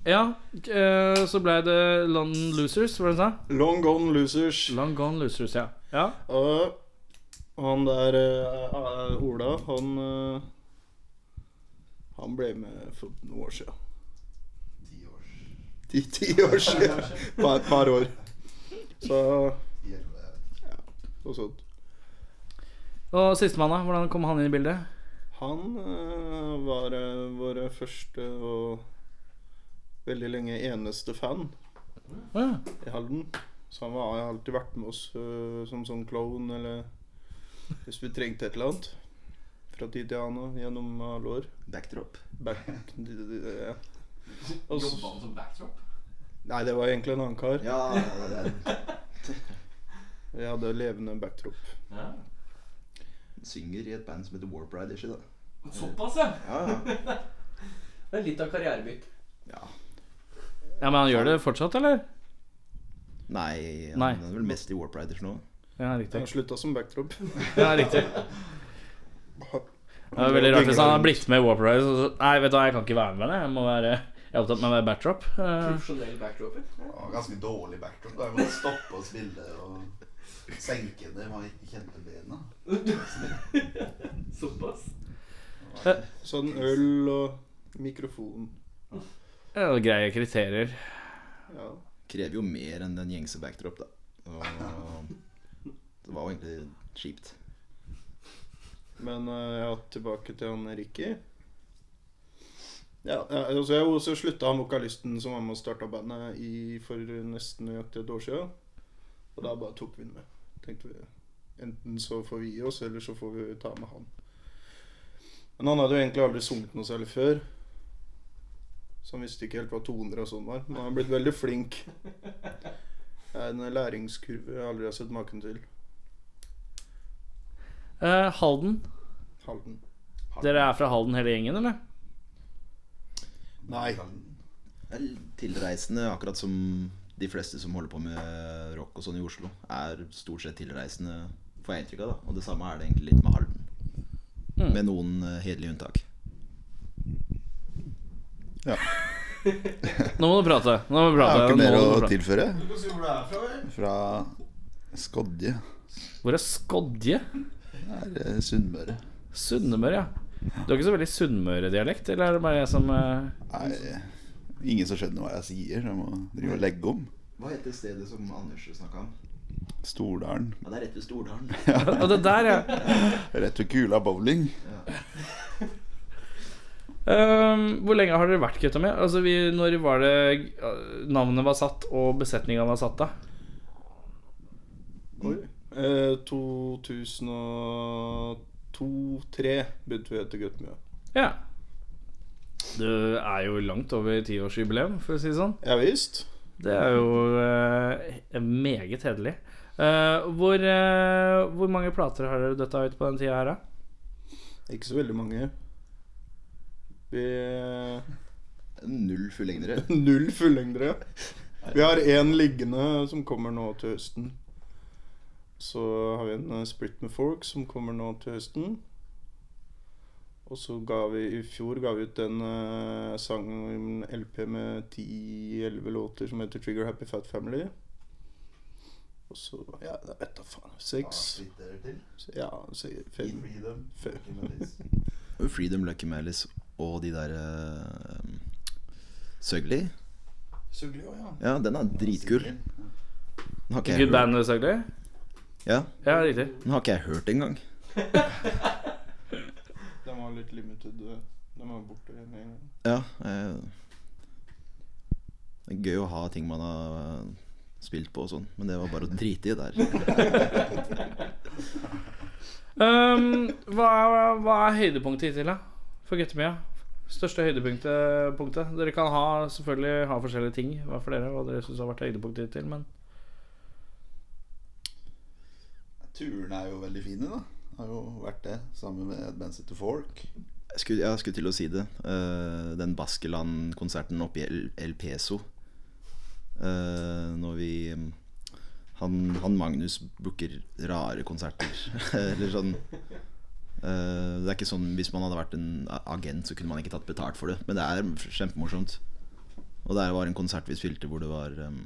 ja eh, så ble det London Losers, var det det du Long Gone Losers. sa? Long Gone Losers, ja. ja. Og han der eh, eh, Ola, han eh, Han ble med for noen år siden. Ti, ti år siden. Par, par år. Så ja, noe sånt. Og sistemann, da? Hvordan kom han inn i bildet? Han eh, var eh, vår første og veldig lenge eneste fan Å ja. i Halden. Så han var, har alltid vært med oss eh, som sånn klovn eller hvis vi trengte et eller annet. Fra tid til annen gjennom alle år. Backdrop. Back, d- d- d- ja. Og s- Jobba han som backdrop? nei, det var egentlig en annen kar. Ja, det er Vi hadde levende backdrop. Ja. synger i et band som heter Warp Riders i dag. Såpass, ja. Ja, ja. Det er litt av karrierebytt. ja, Men han gjør det fortsatt, eller? Nei, han Nei. er vel mest i Warp Riders nå. Ja, Han riktig. slutta som backdrop. Ja, riktig. [LAUGHS] Det var veldig rart hvis han hadde blitt med i Warp Riders. og så- Nei, vet du hva, jeg kan ikke være med det. Jeg må være jeg er opptatt med å være backdrop. Eh, Profesjonell backdropper. Ja, ganske dårlig backdrop. Da. Jeg måtte stoppe å spille og senke det. Man ikke kjente bena. Såpass. Sånn øl og mikrofon. ja, det er greie kriterier. Ja. Krever jo mer enn den gjengse backdrop, da. Og det var jo egentlig kjipt. Men eh, ja, tilbake til han Ricky. Ja, ja, altså jeg, så slutta han vokalisten som var med og starta bandet i, for nesten nøyaktig et år siden. Og da bare tok vi den med. Tenkte vi Enten så får vi gi oss, eller så får vi ta med han. Men han hadde jo egentlig aldri sunget noe særlig før. Så han visste ikke helt hva toner og sånn var. Men han har blitt veldig flink. Det er en læringskurve jeg aldri har sett maken til. Eh, Halden. Halden. Dere er fra Halden hele gjengen, eller? Nei. Det er Tilreisende, akkurat som de fleste som holder på med rock og sånn i Oslo, er stort sett tilreisende, får jeg inntrykk av. da Og det samme er det egentlig litt med Halden. Mm. Med noen eh, hederlige unntak. Nå må du prate. Nå må du Jeg har prate. ikke mer Nå å må du prate. tilføre. Fra Skodje. Hvor er Skodje? Det er eh, Sunnmøre. Sunnmøre, ja. Du har ikke så veldig sunnmøredialekt, eller er det bare jeg som eh, [LAUGHS] Nei, ingen som skjønner hva jeg sier. Jeg må drive og legge om. Hva heter stedet som Anders snakka om? Stordalen. Ja, det er rett ved Stordalen. [LAUGHS] Og det der, ja. Rett ved Kula bowling. Ehm, hvor lenge har dere vært gutta mi? Altså, vi, når var det eh, navnet var satt og besetninga var satt, da? Eh, 2002-2003 begynte vi å hete Guttemia. Ja. Du er jo langt over tiårsjubileum, for å si det sånn. Ja visst. Det er jo eh, meget hederlig. Eh, hvor, eh, hvor mange plater har dere døtta ut på den tida her, da? Ikke så veldig mange. Vi Null fullengdere. [LAUGHS] Null fullengdere. Vi har én liggende som kommer nå til høsten. Så har vi en eh, Split med Fork som kommer nå til høsten. Og så ga vi i fjor ga vi ut en eh, sang, en LP med 10-11 låter som heter Trigger Happy Fat Family. Og så Ja, jeg vet da faen. Seks? Twitter til. Ja, se- In fem. freedom. Fe- Freedom, Lucky Malice og de der uh, Søgli. Sugli òg, ja. Ja, den er dritkul. Den har ikke jeg Good hørt, band, selvfølgelig? ja, Ja, riktig. den har ikke jeg hørt engang. Den var litt limited. eh, Den var borte igjen med en gang. Ja, eh, det er gøy å ha ting man har eh, spilt på og sånn, men det var bare å drite i der. Ehm, hva, er- hva er høydepunktet hittil, da? For guttemia? Største høydepunktet? Punktet. Dere kan ha, selvfølgelig ha forskjellige ting hva for dere, hva dere syns har vært høydepunktet hittil, men Turene er jo veldig fine, da. Har jo vært det, sammen med Advanced to Fork. Jeg skulle, jeg skulle til å si det. Eh, den Baskeland-konserten oppe i El, El Peso. Eh, når vi han, han Magnus booker rare konserter. [LAUGHS] Eller sånn Eh, Det er ikke sånn Hvis man hadde vært en a- agent, så kunne man ikke tatt betalt for det. Men det er kjempemorsomt. Og det var en konsert vi spilte hvor det var em,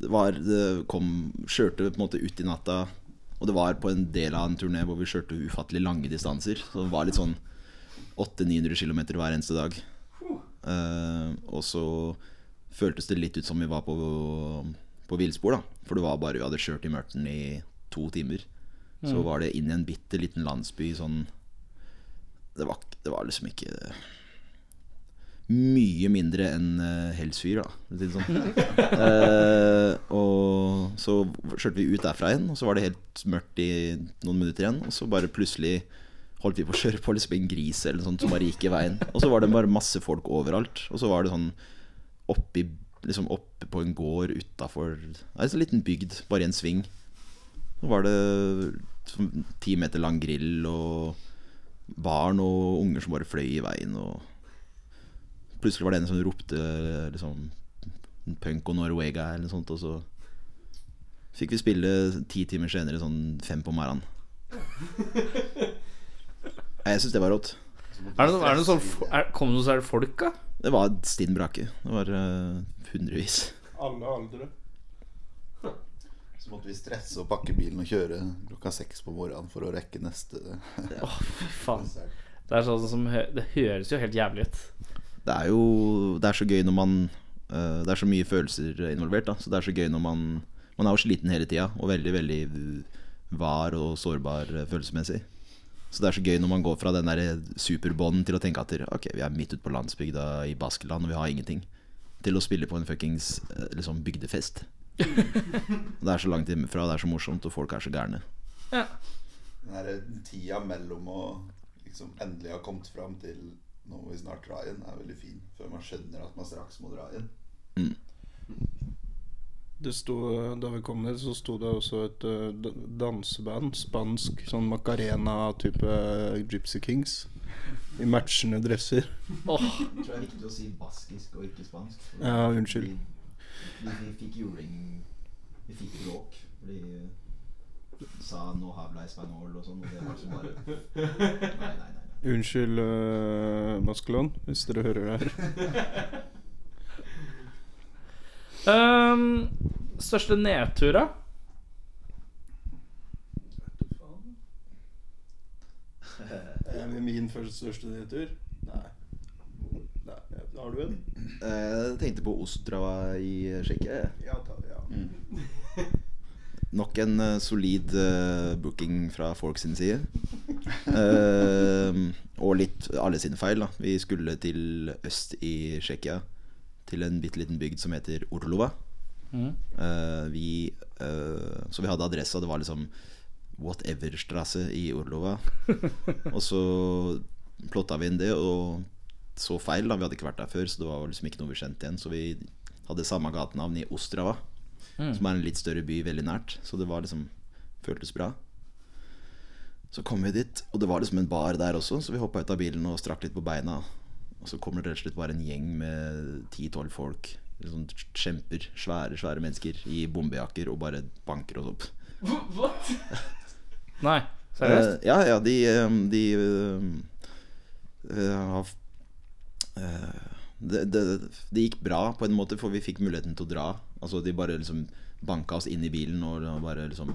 Det var Det kom Kjørte på en måte ut i natta. Og det var på en del av en turné hvor vi kjørte ufattelig lange distanser. Så det var litt sånn 800-900 km hver eneste dag. Eh, og så føltes det litt ut som vi var på, på villspor, da. For det var bare vi hadde kjørt i Mørten i to timer. Så var det inn i en bitte liten landsby sånn Det var, det var liksom ikke Mye mindre enn eh, Helsfyr, da, for å si det sånn. Eh, og så kjørte vi ut derfra igjen, og så var det helt mørkt i noen minutter igjen. Og så bare plutselig holdt vi på å kjøre på liksom en gris eller noe sånt som bare gikk i veien. Og så var det bare masse folk overalt. Og så var det sånn oppi Liksom oppe på en gård utafor En sånn liten bygd, bare i en sving. Så var det sånn ti meter lang grill og barn og unger som bare fløy i veien. Og plutselig var det en som ropte liksom punk og Norwega eller noe sånt, og så fikk vi spille ti timer senere sånn fem på morgenen. Nei, Jeg syns det var rått. er det, noe- er det noe sånn, f- er, Kom det noe særlig folk, da? Det var stinn brake. Det var eh, hundrevis. Alle aldre. Så måtte vi stresse og pakke bilen og kjøre klokka seks på morgenen for å rekke neste Faen. Det er sånn som hø- Det høres jo helt jævlig ut. Det er jo Det er så gøy når man eh, Det er så mye følelser involvert, da. Så det er så gøy når man Man er jo sliten hele tida, og veldig, veldig var og sårbar eh, følelsesmessig. Så det er så gøy når man går fra den der superbånden til å tenke at Ok, vi er midt ute på landsbygda i Baskeland, og vi har ingenting. Til å spille på en fuckings eh, liksom bygdefest. det er så langt hjemmefra, det er så morsomt, og folk er så gærne. Den her tida mellom å liksom endelig ha kommet fram til nå må vi snart dra igjen, er veldig fin. Før man skjønner at man straks må dra igjen. Det sto, da vi kom ned, så sto det også et eh, d- danseband, spansk, sånn Macarena-type Gypsy Kings. I matchende dresser. Jeg tror det er viktig å si baskisk og ikke spansk. Ja, unnskyld. Vi, vi fikk juling Vi fikk bråk fordi vi sa 'no habla español' og sånn, og det var liksom bare Nei, nei, nei. nei. Unnskyld, uh, Maskelon, hvis dere hører det [LAUGHS] her. Ehm, største nedtur, da? Eh, min første største nedtur? Nei. Nei. Har du en? Eh, Jeg tenkte på Ostrava i Tsjekkia. jeg. Ja, ta, ja. Nok en eh, solid eh, booking fra folk sin side. Eh, og litt alle sine feil. da Vi skulle til øst i Tsjekkia. Til en bitte liten bygd som heter Orlova. Eh, vi, eh, så vi hadde adressa, det var liksom Whateverstrasse i Orlova. og så plotta vi inn det, og så feil. da Vi hadde ikke vært der før, så det var liksom ikke noe vi kjente igjen. Så vi hadde samme gatenavn i Ostrava som er en litt større by veldig nært. Så det var liksom føltes bra. Så kom vi dit, og det var liksom en bar der også, så vi hoppa ut av bilen og strakk litt på beina. Og så kommer det rett og slett bare en gjeng med ti-tolv folk. Liksom kjemper, svære, svære mennesker i bombejakker og bare banker oss opp. Nei, seriøst? Eh, ja, ja, de, eh, de eh, eh, har f- eh, det, det, det gikk bra på en måte, for vi fikk muligheten til å dra. Altså, de bare liksom banka oss inn i bilen og og bare liksom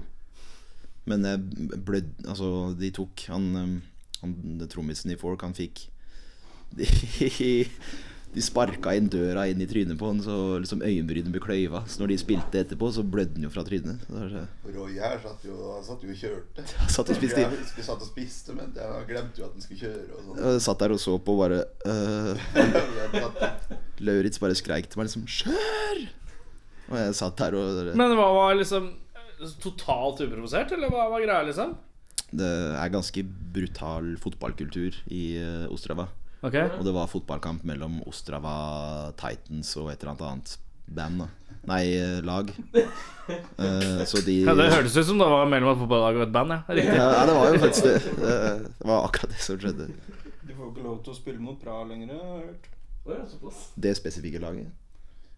Men jeg blød Altså, de tok han, eh, han trommisen i Fork, han fikk [LAUGHS] De, de sparka inn døra inn i trynet på han, så liksom øyenbrynene ble kløyva. Så når de spilte etterpå, så blødde han jo fra trynet. Så, det var så- Roy her satt jo, han satt jo og kjørte. [LAUGHS] han satt og spiste Jeg husker jeg satt og spiste, men jeg glemte jo at den skulle kjøre og sånn. Jeg Eh, satt der og så på bare øh, Jeg satt- Lauritz bare skreik til meg liksom 'Kjør!' Og jeg satt der og Men hva var liksom Totalt uprovosert, eller hva var greia, liksom? Det er ganske brutal fotballkultur i eh, Ostrava. Ok, Og det var fotballkamp mellom Ostrava Titans og et eller annet annet band. da Nei, eh, lag. Eh, så de ja, Det hørtes ut som det var mellom et fotballag og et band. ja Riktig. ja, ja, det var jo faktisk det. Eh, Det var akkurat det som skjedde. Du får ikke lov til å spille mot Praha lenger, har jeg hørt. Det spesifikke laget.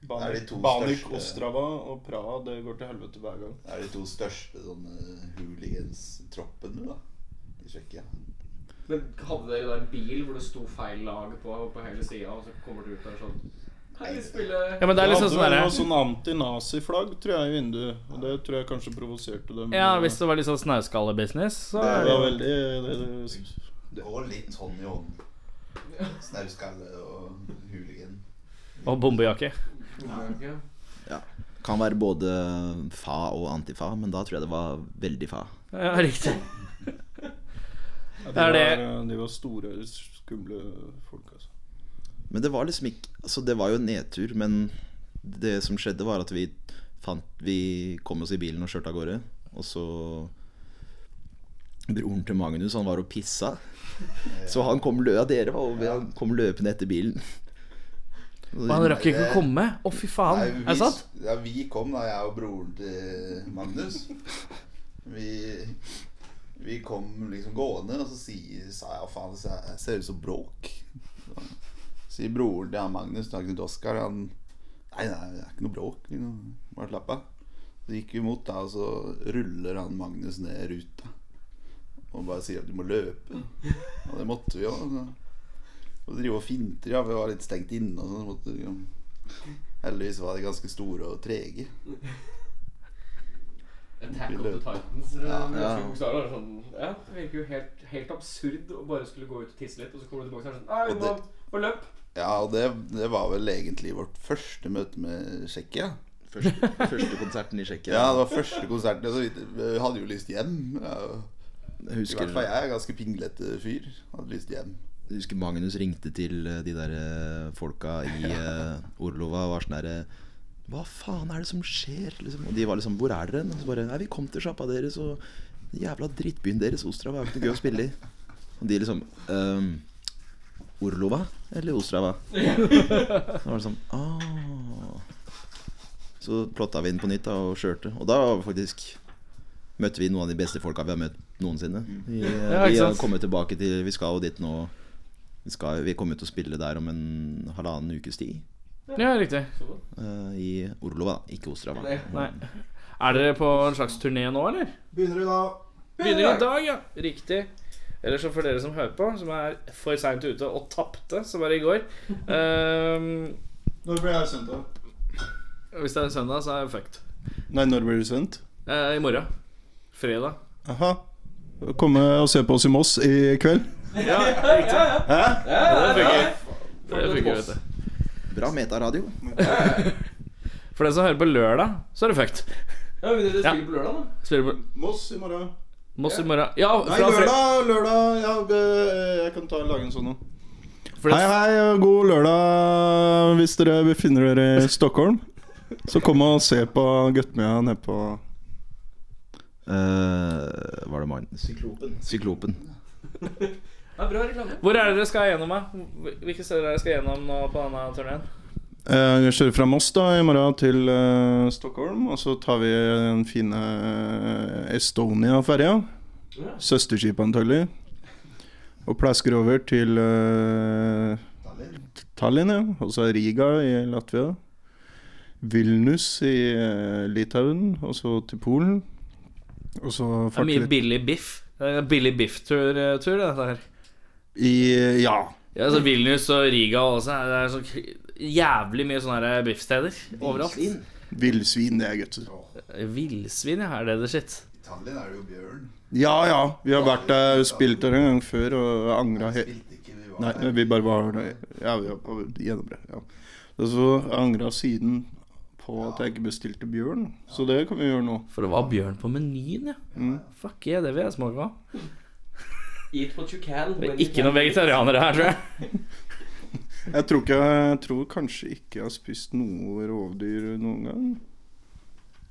Det er Banik, de to Banik største- Ostrava og Praha, det går til helvete hver gang. Det er de to største sånne hooligans-troppene, da. I Tsjekkia. Men hadde dere da en bil hvor det sto feil lag på, på hele sida, og så kommer dere ut der sånn Hei, spille Ja, men det er liksom sånn hadde derre noe sånn anti-nazi-flagg, tror jeg, i vinduet. Og det tror jeg kanskje provoserte dem. Ja, hvis det var litt sånn snauskallebusiness, så det er det var veldig det, det, Og litt hånd i hånd. Snauskalle og hooligan. Og bombejakke. Kan være både fa og antifa, men da tror jeg det var veldig fa. Ja, riktig. ja, de, Er det- Var, de var store, skumle folk, altså. Men det var liksom ikke Altså det var jo en nedtur, men det som skjedde, var at vi fant Vi kom oss i bilen og kjørte av gårde, og så Broren til Magnus, han var og pissa. Så han kom lø ja, dere var over, han kom løpende etter bilen. Og han rakk ikke å komme. Å, fy faen. Nei, vi- Er det sant? Ja, vi kom da, jeg og broren til Magnus. Vi, vi kom liksom gående, og så sier, sa jeg faen, det ser- ser ut som bråk. Så sier broren til han Magnus, da Knut Oskar, han Nei, nei, det er ikke noe bråk. liksom. Bare slapp av. Så gikk vi mot da, og så ruller han Magnus ned ruta. Og bare sier at du må løpe. Og det måtte vi òg. Og drive og finter, ja, for vi var litt stengt inne og sånn. så måtte vi liksom Heldigvis var de ganske store og trege. Attack of the Titans. Ja, Bokstaver, sånn, ja, det virker jo helt, helt absurd å bare skulle gå ut og tisse litt, og så kommer du tilbake og så er det sånn Nei, vi må, må løpe. Ja, og det, det var vel egentlig vårt første møte med Tsjekkia. Første, første konserten i Tsjekkia. Ja, det var første konserten. Så vi vi hadde jo lyst hjem. Ja, jeg I husker, hvert fall jeg er en ganske pinglete fyr. Hadde lyst hjem. jeg husker Magnus ringte til eh, de der eh, folka i eh, Orlova og var sånn derre Hva faen er det som skjer? Liksom. Og de var liksom Hvor er dere? Og så bare Nei, vi kom til sjappa deres, og den jævla drittbyen deres, Ostrava, er jo ikke noe gøy å spille i. Og de liksom «Øhm, Orlova [LAUGHS] eller Ostrava? Da var det sånn «Ah». Så plotta vi inn på nytt da, og kjørte. Og da var vi faktisk møtte vi noen av de beste folka vi har møtt noensinne. Mm. Vi, eh, Ja, ikke vi har sant? kommet tilbake til Vi skal jo dit nå. Vi, skal, vi kommer til å spille der om en halvannen ukes tid. Ja, riktig. Eh, I Orlova, da. Ikke Ostrava. Nei. Er dere på en slags turné nå, eller? Begynner du da? Begynner i dag, ja. Riktig. Eller så for dere som hører på, som er for seint ute og tapte, som var i går ehm, Når ble jeg sendt, da? Hvis det er søndag, så er jeg fucked. Nei, når ble du sendt? Eh, I morgen. Fredag. Aha. Komme og se på oss i Moss i kveld. Ja, riktig. Det fungerer. Det fungerer, vet du. Bra metaradio. For den som hører på lørdag, så er det fucked. Ja, men Dere spiller på lørdag, da? Spiller på Moss i morgen. Moss i morgen. Ja, Nei, fra fre lørdag, lørdag. Ja, det- jeg kan ta lage en sånn nå. for Hei, det, hei, og god lørdag hvis dere befinner dere i Stockholm. Så kom og se på Guttemia nede på Eh, var det mannen? Syklopen. Syklopen. Ja, bra reklame. Hvor er det dere skal gjennom, da? Hvilke steder er det dere skal gjennom nå på denne turneen? Eh, Jeg kjører fra Moss da i morgen til eh, Stockholm, og så tar vi den fine eh, Estonia-ferja. Ja. Søsterskipet antagelig. Og plasker over til eh, Tallinn, ja. Og så Riga i Latvia. Vilnius i eh, Litauen, og så til Polen. Og så Det er farte mye litt billig biff. Det er en billig biff-tur, eh, tur, dette her. i Ja. Ja, altså Vilnius og Riga også. Det er så kri- jævlig mye sånne her biffsteder overalt. Villsvin, det er godt. Villsvin, ja. Er det det shit? Tallinn er det jo bjørn. Ja ja, vi har vært der og spilt der en gang før og angra helt Spilte ikke, vi var Nei, vi bare var der. Ja, vi var gjennom det. Ja. Og så angra siden på at jeg ikke bestilte bjørn, så det kan vi gjøre nå. Mm. For det var bjørn på menyen, ja. Fuck yeah, det vil jeg smake på. Eat what you can. Det er ikke noen vegetarianere her, tror jeg. Jeg tror, ikke, jeg tror kanskje ikke jeg har spist noe rovdyr noen gang.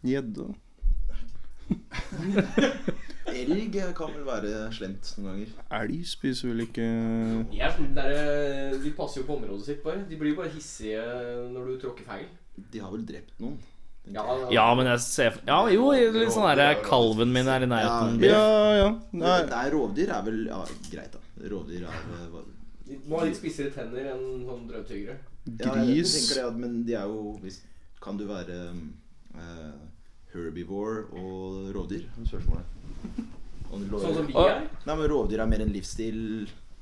Gjedde. Elg kan vel være slemt noen ganger. Elg spiser vel ikke sånn de eh, passer jo på området sitt, bare. De blir bare hissige når du tråkker feil. De har vel drept noen? Ja, Ja, men jeg ser Ja, jo, litt sånn her Kalven min er i nærheten. Ja. Ja, ja. Nei. Nei. Nei, rovdyr er vel ja, greit, da. Rovdyr er eh, hva- De må ha litt spissere tenner enn sånn drøvtyggere. Ja, jeg vet, Gris. jeg tenker det, men de er jo hvis, Kan du være eh, herbivore og rovdyr? er Spørsmålet. Om du Sånn som vi Å. er. Nei, men rovdyr er mer en livsstil.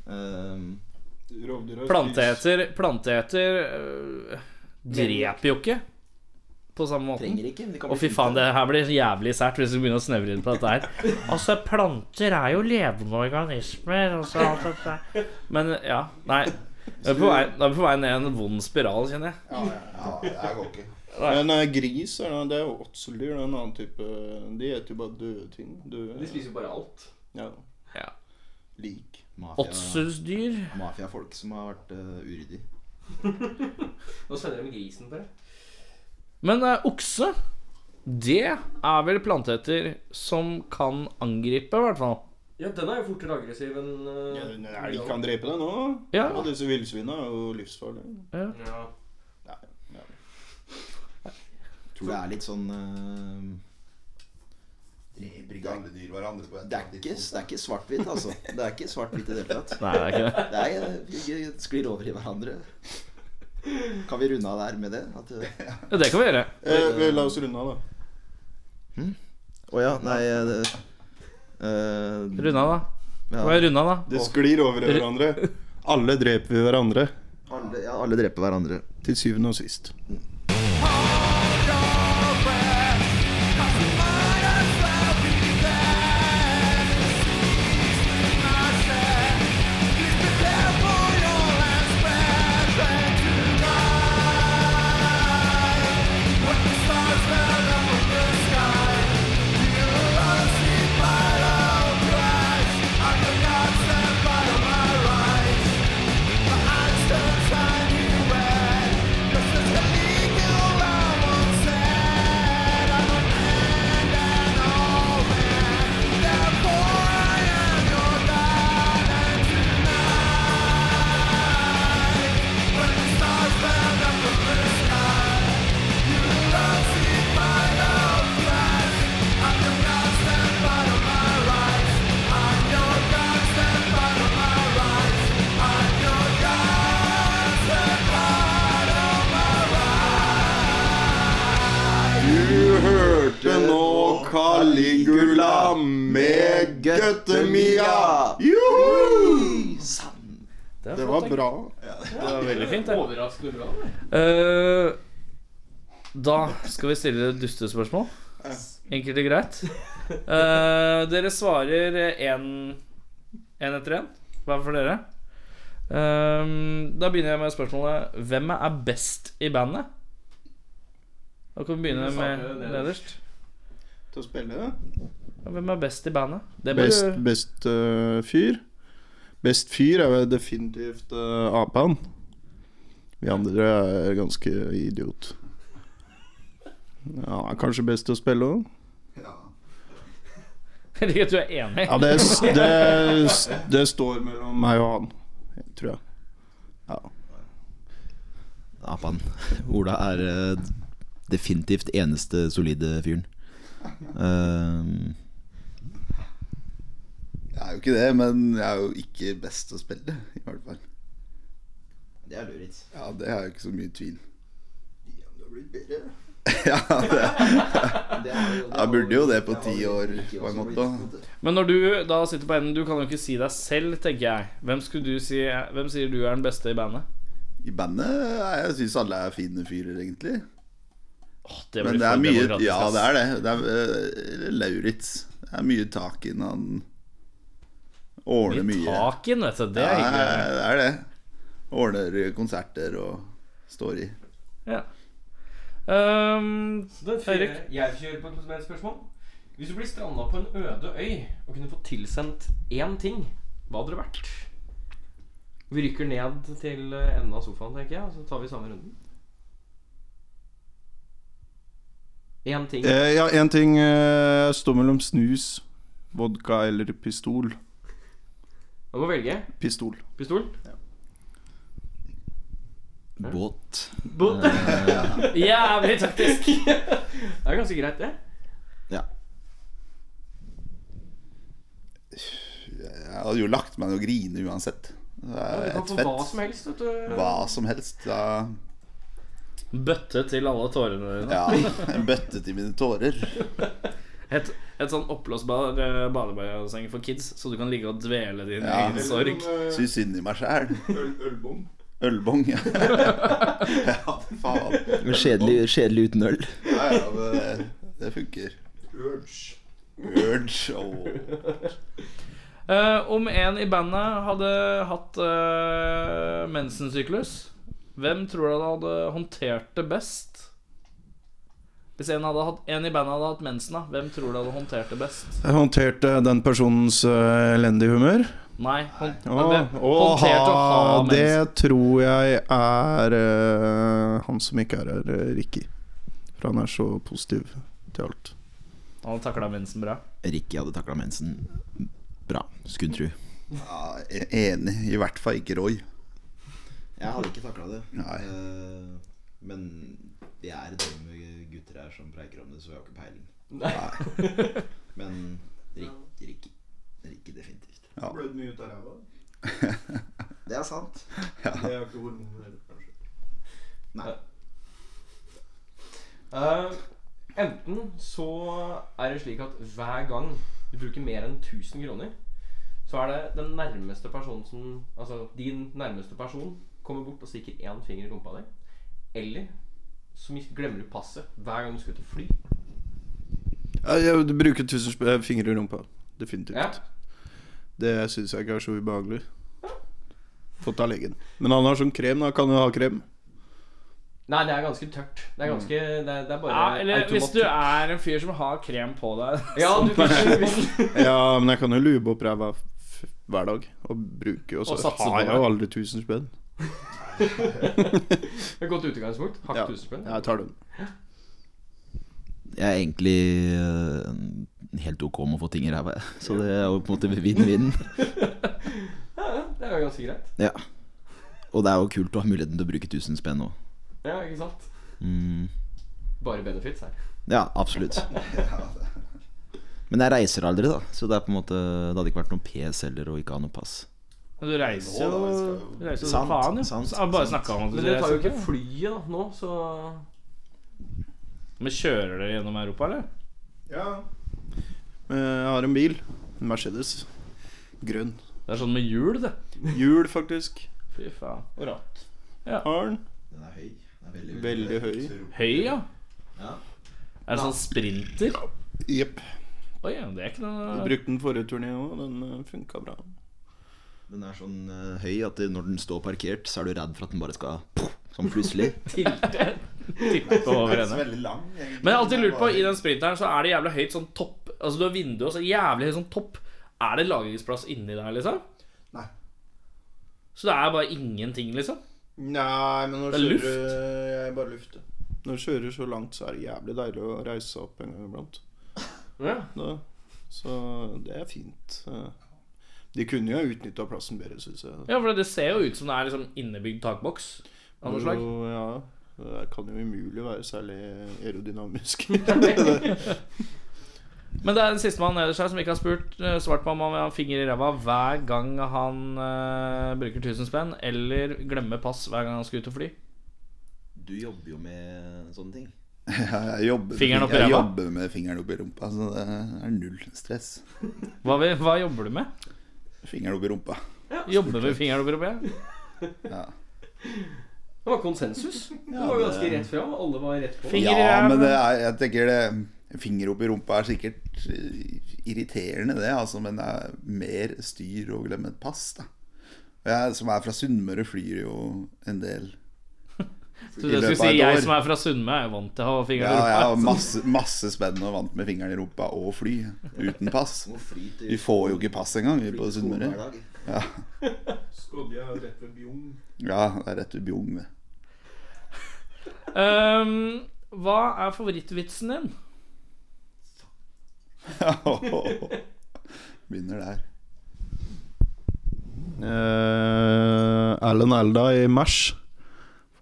eh, Planteeter Planteeter øh, dreper jo ikke på samme måten. trenger ikke. men de kan Å, fy bli faen, fint. det her blir jævlig sært hvis vi begynner å snevre inn på dette her. Altså, planter er jo levende organismer og så alt dette Men ja, nei. Da er vi på vei, da er vi på vei ned en vond spiral, kjenner jeg. Ja, det her går ikke. Men eh, gris er, det er jo åtseldyr. Det er en annen type De spiser jo bare døde ting. De Døde spiser jo bare alt. ja. Ja. lik. Mafia- Åtselsdyr. Mafiafolk som har vært uh, uryddige. Nå sender de grisen på deg. Men eh, okse, det er vel planteeter som kan angripe, i hvert fall. Ja, den er jo fortere aggressiv enn eh, Ja, en elg kan drepe deg nå. Ja. Og disse villsvina er jo livsfarlige. Ja. Tror det er litt sånn eh, Dreper alle dyr hverandre på et Det er ikke, det er ikke svart-hvitt, altså. Det er ikke svart-hvitt i det hele tatt. Nei, det er ikke det. Det er, eh, vi sklir over i hverandre. Kan vi runde av der med det? At, eh, Ja, Det kan vi gjøre. Eh, vel, la oss runde av, da. Å ja, nei det, eh, Runde av, da. ja. Hva er runde av, da? Det sklir over i hverandre. Alle dreper vi hverandre. alle, ja, alle dreper hverandre. Til syvende og sist. Du hørte nå Caligula med Gøttemia. Juhu! er Det var bra. Det var veldig fint, det. Overraskende bra. det. Eh, da skal vi stille dustespørsmål. Enkelt og greit. Eh, dere svarer én etter én Hva er for dere? Ehm, da begynner jeg med spørsmålet Hvem er best i bandet? Da kan vi begynne med nederst. til å spille. Ja, Hvem er best i bandet? Det bør Best, du- [LAUGHS] best øh, fyr. Best fyr er jo definitivt uh, apen. Vi andre er ganske idiot. Ja, han er kanskje best til å spille òg. Jeg liker at du er enig. Ja, det, s- det, s- det står mellom meg og han, tror jeg. Apan. Ola er eh, definitivt eneste solide fyren. Eh, Jeg er jo ikke det, men jeg er jo ikke best til å spille, i hvert fall. det er lurigt. Ja, det er jo ikke så mye [LAUGHS] tvil. Du har blitt bedre. Ja, det, Jeg burde jo det på ti år, på en måte. Men når du da sitter på enden, du kan jo ikke si deg selv, tenker jeg. Hvem, skulle du si, hvem sier du er den beste i bandet? I bandet er- jeg syns alle er fine fyrer, egentlig. Åh, det blir Men det er for mye demokratisk, Ja, ass. det er det. det er, eh, eller Lauritz. Det er mye tak i den. Han ordner Mye mye. tak i den, vet du. Det Ja, er hyggelig. det er det. Ordner konserter og står i. Ja. Ehm, Eirik? Jeg kjører på et spørsmål. Hvis du blir stranda på en øde øy og kunne fått tilsendt én ting, hva hadde det vært? Vi rykker ned til eh, enden av sofaen, tenker jeg, og så tar vi samme runden. Én ting. Eh, ja, én ting eh, står mellom snus, vodka eller pistol. Du må velge. Pistol. Pistol. Mm. Båt. Bot. jævlig taktisk. [LAUGHS] Det er ganske greit, det. Jeg hadde jo lagt meg ned og grine uansett. Det Du er jo kan helt få hva som fett. helst. Vet du. Hva som helst. Da. Bøtte til alle tårene dine. Ja, en bøtte til mine tårer. Et, et sånn oppblåsbar eh, badebasseng for kids, så du kan ligge og dvele din Ja. egen sorg. Syns synd i meg sjæl. Ølbom. Ølbong. [LAUGHS] Ja, ja faen. Kjedelig, kjedelig uten øl. Ja, ja, det, det funker. Urge. Urge. Åh. Eh, om en i bandet hadde hatt eh, mensensyklus, hvem tror dere hadde håndtert det best? Hvis en, hadde hatt, en i bandet hadde hatt mensen, da, hvem tror dere hadde håndtert det best? Jeg håndterte den personens eh, elendige humør. Nei, hånd, Å, men hvem å håndterte å ha ha, mensen? det tror jeg er eh, han som ikke er her, eh, Ricky. For han er så positiv til alt. Han hadde takla mensen bra. Ricky hadde takla mensen bra. Skulle tru. Ja, e-, enig. I hvert fall ikke Roy. Jeg hadde ikke takla det. Nei. Eh, men vi er dumme gutter her som preiker om det, så vi har ikke peiling. men Ricky, Ricky, Ricky definitivt. Blødd mye ut av ræva. [LAUGHS] Det er sant. Det er ikke hormoner heller, kanskje. Eh, enten så er det slik at hver gang du bruker mer enn 1000 kroner, så er det den nærmeste personen som Altså din nærmeste person kommer bort og stikker én finger i rumpa di. Eller så mis- glemmer du passet hver gang du skal ut og fly. Ja, jeg bruker tusen sp- eh, fingre i rumpa. Definitivt. Ja. Det syns jeg ikke er så ubehagelig. Fått av legen. Men han har sånn krem, da. Kan jo ha krem. Nei, det er ganske tørt. Det Mm. er ganske Det er, det er bare Ja, eller hvis automatikk. du er sånn. en fyr som har krem på deg [LAUGHS] Ja, du kan Ja, men jeg kan jo lube opp ræva f- hver dag. Og bruke Og så Og satse på har jeg det. jo aldri 1000 spenn. Et godt utgangspunkt. Hakk Ja. tusen spenn. Jeg tar den. Jeg er egentlig eh, helt ok med å få ting i ræva, jeg. så det er jo på en måte [LAUGHS] vinn-vinn. Ja, ja, det er jo ganske greit. Ja. Og det er jo kult å ha muligheten til å bruke 1000 spenn òg. Ja, ikke sant? Mm. Bare benefits her. Ja, absolutt. Men jeg reiser aldri, da, så det, er på en måte, det hadde ikke vært noen PS heller å ikke ha noe pass. Men Du reiser jo du reiser jo som Sant, faen, jo. sant, Så jeg bare sant. snakket om at du Men dere tar jo sånn, reiser. ikke flyet da nå, så Men kjører dere gjennom Europa, eller? Eh, Jeg har en bil. En Mercedes. Grønn. Det er sånn med hjul, det. Hjul, faktisk. Fy faen. Og ratt. Har den. Den er høy. Den er veldig, Veldig høy. Høy, ja. Ja. Er det sånn sprinter? Jepp. Oi, ja, det er ikke Jeg noe eh, Brukte den forrige turné òg, den funka bra. Den er sånn eh, høy at det- når den står parkert, så er du redd for at den bare skal Sånn [LAUGHS] plutselig. Tilte tilte over [LAUGHS] Så henne. veldig lang, egentlig. Men jeg har alltid lurt på, i den sprinteren så er det jævlig høyt sånn topp Altså du har vindu og så jævlig høy sånn topp. Er det lagringsplass inni der, liksom? Nei. Så det er bare ingenting, liksom? Nei, men Det når er du luft. kjører Jeg er bare luft. ja. Når du kjører så langt, så er det jævlig deilig å reise seg opp en gang iblant. Ja. Da, så det er fint. De kunne jo utnytta plassen bedre, syns jeg. Ja, for det ser jo ut som det er liksom innebygd takboks av noe slag. Jo, Ja, det kan jo umulig være særlig aerodynamisk. Mm. [LAUGHS] Men det er den siste mann nederst her som ikke har spurt eh, svart på om han vil ha en finger i ræva hver gang han eh, bruker 1000 spenn, eller glemmer pass hver gang han skal ut og fly. Du jobber jo med sånne ting. Ja, jeg jobber, med Fingeren fing- opp i jeg ræva? jobber med fingeren opp i rumpa, så det er null stress. Hva, vil, hva jobber du med? Fingeren opp i rumpa. Jobber med fingeren oppi rumpa? Det var konsensus. Det var ganske rett fram. Alle var rett på. Finger i ja, men det ræva. er, jeg tenker det Finger opp i rumpa er sikkert eh, irriterende, det. Altså, men det er mer styr å glemme et pass, da. Og Jeg som er fra Sunnmøre, flyr jo en del. Så det i skulle løpet av si et jeg år. som er fra Sunnmø, er jo vant til å ha Ja, fingeren jeg i har rumpa. masse, masse spenn og vant med fingeren i rumpa og fly uten pass. Du må fri til Vi får jo ikke pass engang, vi på skolen Sunnmøre. hver dag. Skodje er jo rett ved Bjugn. Ja, det er rett ved Bjugn. det. [LAUGHS] Ehm, hva er favorittvitsen din? Begynner der. Eh, Alan Alda i Mash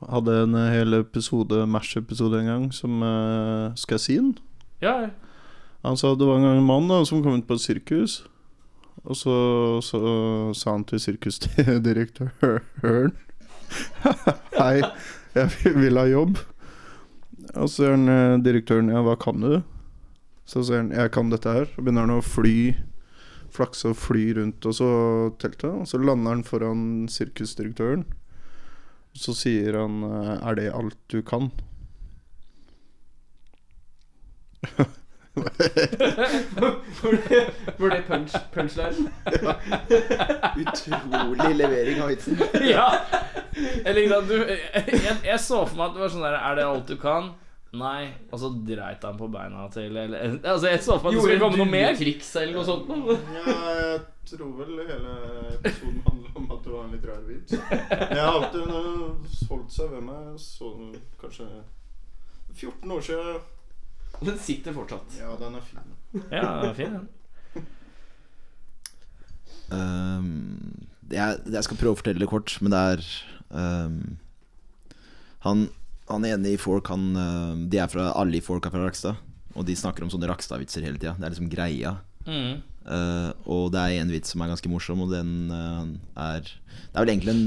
hadde en hel episode Mash-episode en gang som eh, Skal jeg si den? Ja, Han sa det var en gang en mann da, som kom ut på et sirkus. Og så, så sa han til sirkusdirektøren [LAUGHS] Hei, jeg vil- vil ha jobb. Og så sier han eh, direktøren ja, hva kan du? Så sier han jeg kan dette her. Så begynner han å fly, flakse og fly rundt og så teltet. Og så lander han foran sirkusdirektøren. Så sier han eh, er det alt du kan? Var det punch, punchline? Utrolig levering av vitsen. [LAUGHS] ja. Eller ikke sant, du jeg, jeg så for meg at det var sånn der Er det alt du kan? Nei. Og så dreit han på beina til eller, Altså, jeg så for meg at det skulle komme noe mer. triks eller noe sånt? noe? Jeg tror vel hele episoden handler om at det var en litt rar vits. Jeg har alltid hun har holdt seg ved meg sånn kanskje 14 år siden. Den sitter fortsatt. Ja, den er fin. Ja, det var fin den. Ehm, det er, jeg skal prøve å fortelle det kort, men det er ehm, han, han ene i Fork, han ehm, De er fra Alle i Fork er fra Rakstad, og de snakker om sånne Rakstad-vitser hele tida. Det er liksom greia. Mm. Eh, og det er en vits som er ganske morsom, og den eh, er Det er vel egentlig en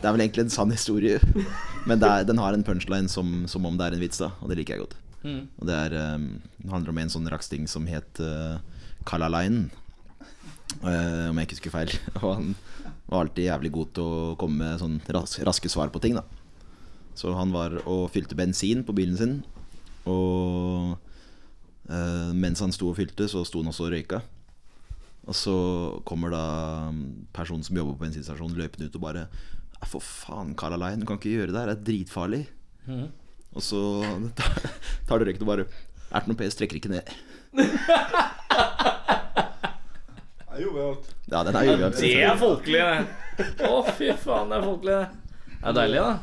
Det er vel egentlig en sann historie, [LAUGHS] men det er, den har en punchline som, som om det er en vits, da, og det liker jeg godt. Mm. Og det er, eh, det handler om en sånn raksting som het uh, Kalalainen. Eh, om jeg ikke husker feil. [LAUGHS] Og han var alltid jævlig god til å komme med sånn ras raske svar på ting, da. Så han var og fylte bensin på bilen sin. Og eh, mens han sto og fylte, så sto han også og røyka. Og så kommer da mm, personen som jobber på bensinstasjonen, løpende ut og bare «Ja, For faen, Kalalainen, du kan ikke gjøre det her. Det er dritfarlig. Og så [LAUGHS] tar, tar du røyken og bare Er det noe PS, trekker ikke ned. Jeg gjorde alt. Ja, den er uavgjort. Det er folkelig, det. Å, fy faen, det er folkelig, det. Det er deilig, da.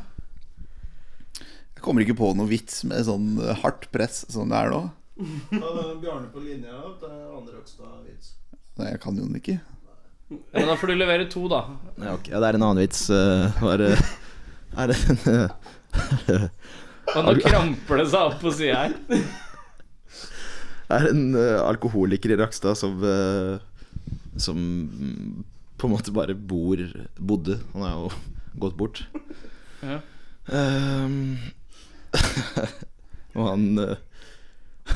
Jeg kommer ikke på noe vits med sånn eh, hardt press som det er nå. Bjarne på linja, det er andre Røkstad-vits. Nei, Jeg kan jo den ikke. Men da får du levere to, da. Ja, ok. ja, det er en annen vits. eh, var det- er det en, eh, Og nå kramper det seg opp på sida her. er en eh, alkoholiker i Rakstad som eh, Som mm, på en måte bare bor bodde. Han er jo gått bort. Ja. Ehm, [LAUGHS] og han eh,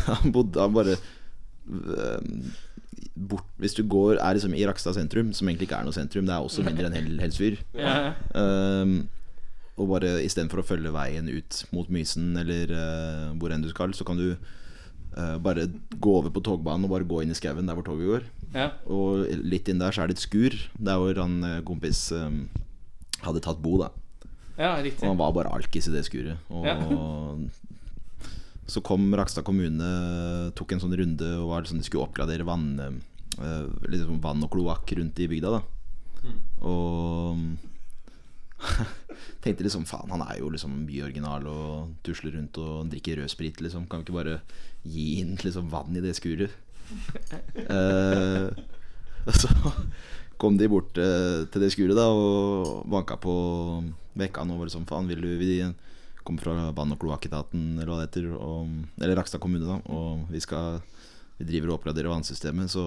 Han bodde Han bare ehm, bort, Hvis du går er liksom i Rakstad sentrum, som egentlig ikke er noe sentrum, det er også mindre enn Hel- Helsfyr. Ja. ja. Ehm, og bare istedenfor å følge veien ut mot Mysen eller eh, hvor enn du skal, så kan du eh, bare gå over på togbanen og bare gå inn i skauen der hvor toget går. Ja. Og litt inn der så er det et skur. Der hvor han eh, kompis eh, hadde tatt bo, da. ja, Og riktig. han var bare alkis i det skuret. Og så kom Rakstad kommune, tok en sånn runde og var liksom, de skulle oppgradere vann, eh, liksom vann og kloakk rundt i bygda. da Og [LAUGHS] tenkte liksom faen, han er jo liksom mye original og tusler rundt og drikker rød sprit, liksom. Kan vi ikke bare gi inn liksom vann i det skuret? Eh, og så kom de bort eh, til det skuret da og banka på vekka han over som liksom, faen. Vil du, vi kommer fra vann- og kloakketaten eller hva det heter, og, eller Rakstad kommune, da, og vi skal Vi driver og oppgraderer vannsystemet, så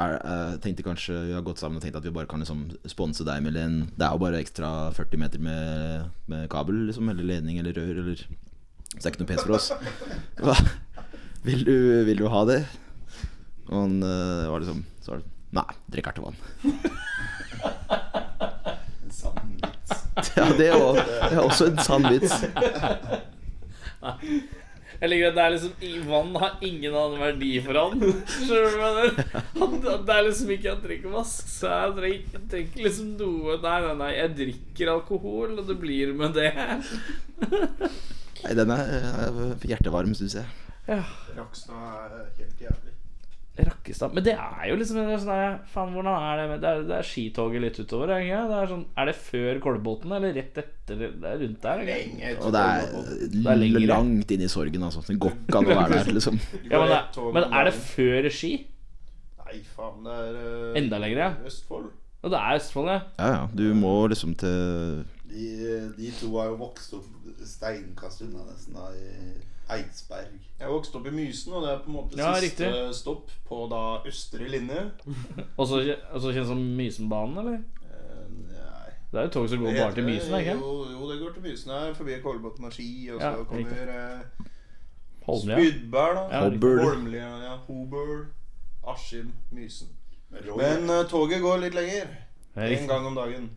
er, jeg tenkte kanskje Vi har gått sammen og tenkt at vi bare kan liksom sponse deg med en Det er jo bare ekstra 40 meter med, med kabel, liksom, eller ledning eller rør, eller Så det er ikke noe pes for oss. Hva? Vil du, vil du ha det? Og han eh, var liksom så var det, Nei, drikk ertevann. Sann vits. [LAUGHS] Ja, det er, også, det er også en sann vits. Jeg liker at det er liksom i- Vann har ingen annen verdi for [LAUGHS] han. Skjønner du hva jeg mener? Han- Det er liksom ikke Han trenger ikke vask seg. Han trenger- han trenger ikke liksom noe Nei, nei, nei. Jeg drikker alkohol, og det blir med det. Nei, den er eh, hjertevarm, syns jeg. Rakstad er helt jævlig. Rakkestad Men det er jo liksom det er sånn der, Faen, hvordan er det med Det er, det er skitoget litt utover, er det ikke? Det er, sånn, er det før Kolbotn, eller rett etter? Det er rundt der, ikke? Lenge etter Og det er, er lengre. langt inn i sorgen, altså. Det går ikke an å være der, liksom. Ja, men, det, men er det før Ski? Nei, faen, det er eh, Enda lenger, ja. Østfold. Og det er Østfold, ja. Ja, ja. Du må liksom til De, de to har jo vokst opp steinkast unna nesten da i Eidsberg. Jeg vokste opp i Mysen, og det er på en måte Ja, siste riktig. stopp på da østre linje. Og så og så kjennes det som Mysenbanen, eller? Eh, nei Det er jo tog som går bare til Mysen, er det ikke? Jo, jo, det går til Mysen her, forbi Kolbotn og Ski, og Ja, så riktig. kommer eh, Holmlia. Spydberg, da. Ja, Hobøl. Holmlia, ja, Hobøl, Askim, Mysen. Men Roy, Men eh, toget går litt lenger. Det er En riktig. gang om dagen.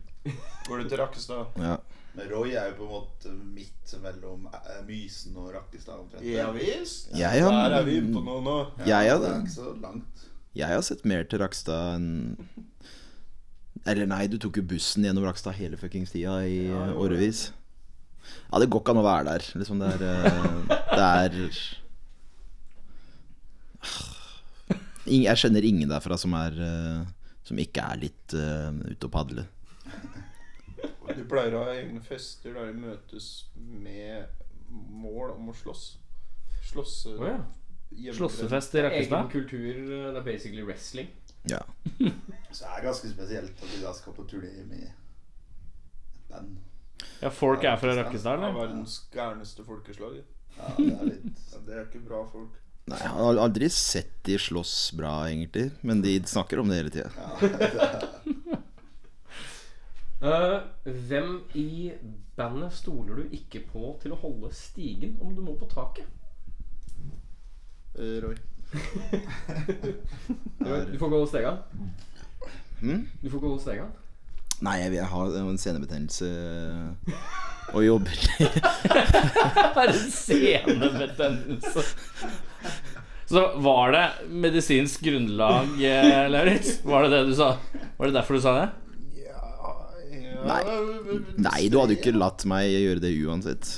Går du til Rakkestad? ja. men Roy er jo på en måte midt mellom eh, Mysen og Rakkestad omtrent. Ja visst. Jeg Der er vi har, inne på noe nå. jeg, Det er har, ikke så langt. jeg har sett mer til Rakstad enn Eller nei, du tok jo bussen gjennom Rakstad hele fuckings tida i eh, årevis. Ja, det går ikke an å være der. Liksom, det er eh, Det er Ing- Jeg kjenner ingen derfra som er eh, Som ikke er litt eh, ute og padle. Du pleier å ha egne fester der de møtes med mål om å slåss. Slåsse... Å ja. hjemmebrent. Slåssefest i Egen Rakkestad. kultur. eh, Det er basically wrestling. Ja. Så det er ganske spesielt at de da skal på turné med et band. Ja, folk er fra Rakkestad, Det er eller? [LAUGHS] verdens gærneste folkeslag. Ja, det er litt Ja, det er ikke bra folk. Nei, jeg har aldri sett de slåss bra, egentlig. Men de snakker om det hele tida. Eh, hvem i bandet stoler du ikke på til å holde stigen om du må på taket? Eh, Roy. Du, du får ikke holde stega. Hmm? Du får ikke holde stega. Nei, jeg, jeg har en senebetennelse og jobber Bare senebetennelse. Så var det medisinsk grunnlag, eh, Lauritz? Var det det du sa? Var det derfor du sa det? Nei. Nei, du hadde jo ikke latt meg gjøre det uansett.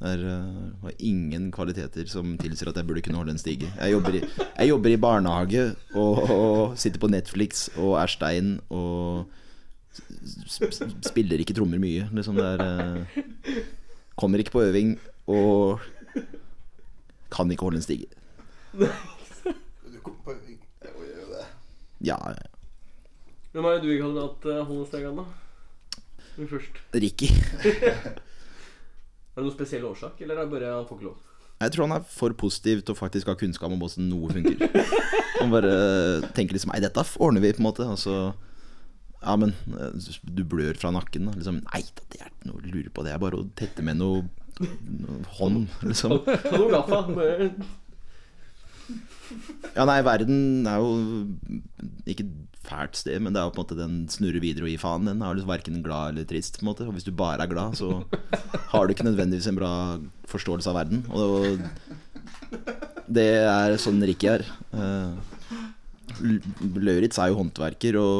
Det er, eh, var ingen kvaliteter som tilsier at jeg burde kunne holde en stige. Jeg jobber i, jeg jobber i barnehage og, og sitter på Netflix og er stein og s- s- spiller ikke trommer mye. Liksom det er eh, Kommer ikke på øving og kan ikke holde en stige. Jo, jo, det. Ja, Hvem er det du ikke hadde latt eh, holde stega, da? Du først. Ricky. Er det noen spesiell årsak, eller er det bare han får ikke lov? Jeg tror han er for positiv til å faktisk ha kunnskap om hvordan noe funker. Han bare tenker liksom Nei, dette ordner vi, på en måte. Og så Ja, men eh, du blør fra nakken. da. Liksom, Nei, det er ikke noe å lure på. Det er bare å tette med noe, noe hånd, liksom. [LAUGHS] Ta noe gaffa. Bare Ja, nei, verden er jo ikke et fælt sted, men det er jo på en måte den snurrer videre og gir faen. Den er jo liksom verken glad eller trist, på en måte. Og hvis du bare er glad, så har du ikke nødvendigvis en bra forståelse av verden. Og det er sånn Ricky er. Eh, L- Lauritz er jo håndverker og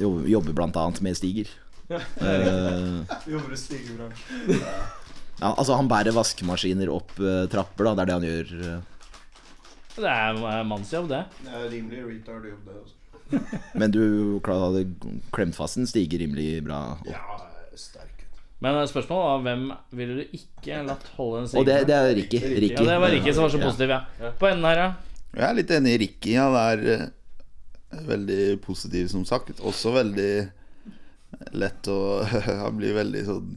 jo- jobber blant annet med stiger. Eh, Jobber i stigebransjen. ja, altså Han bærer vaskemaskiner opp eh, trapper, da. Det er det han gjør. eh. Det er eh, mannsjobb, det. Det er rimelig retard jobb, det. Også. Men du klar- hadde klemt fast en stiger rimelig bra. opp. Ja, sterk. Men eh, spørsmålet var hvem ville du ikke latt holde en Og det, sigel? det er Ricky. Ricky. Ja, det var Rikke som var så Ja. positiv, ja. På enden her, ja. [LAUGHS] Jeg er litt enig i Ricky. Han er eh, veldig positiv, som sagt. Også veldig lett å [LAUGHS] Han blir veldig sånn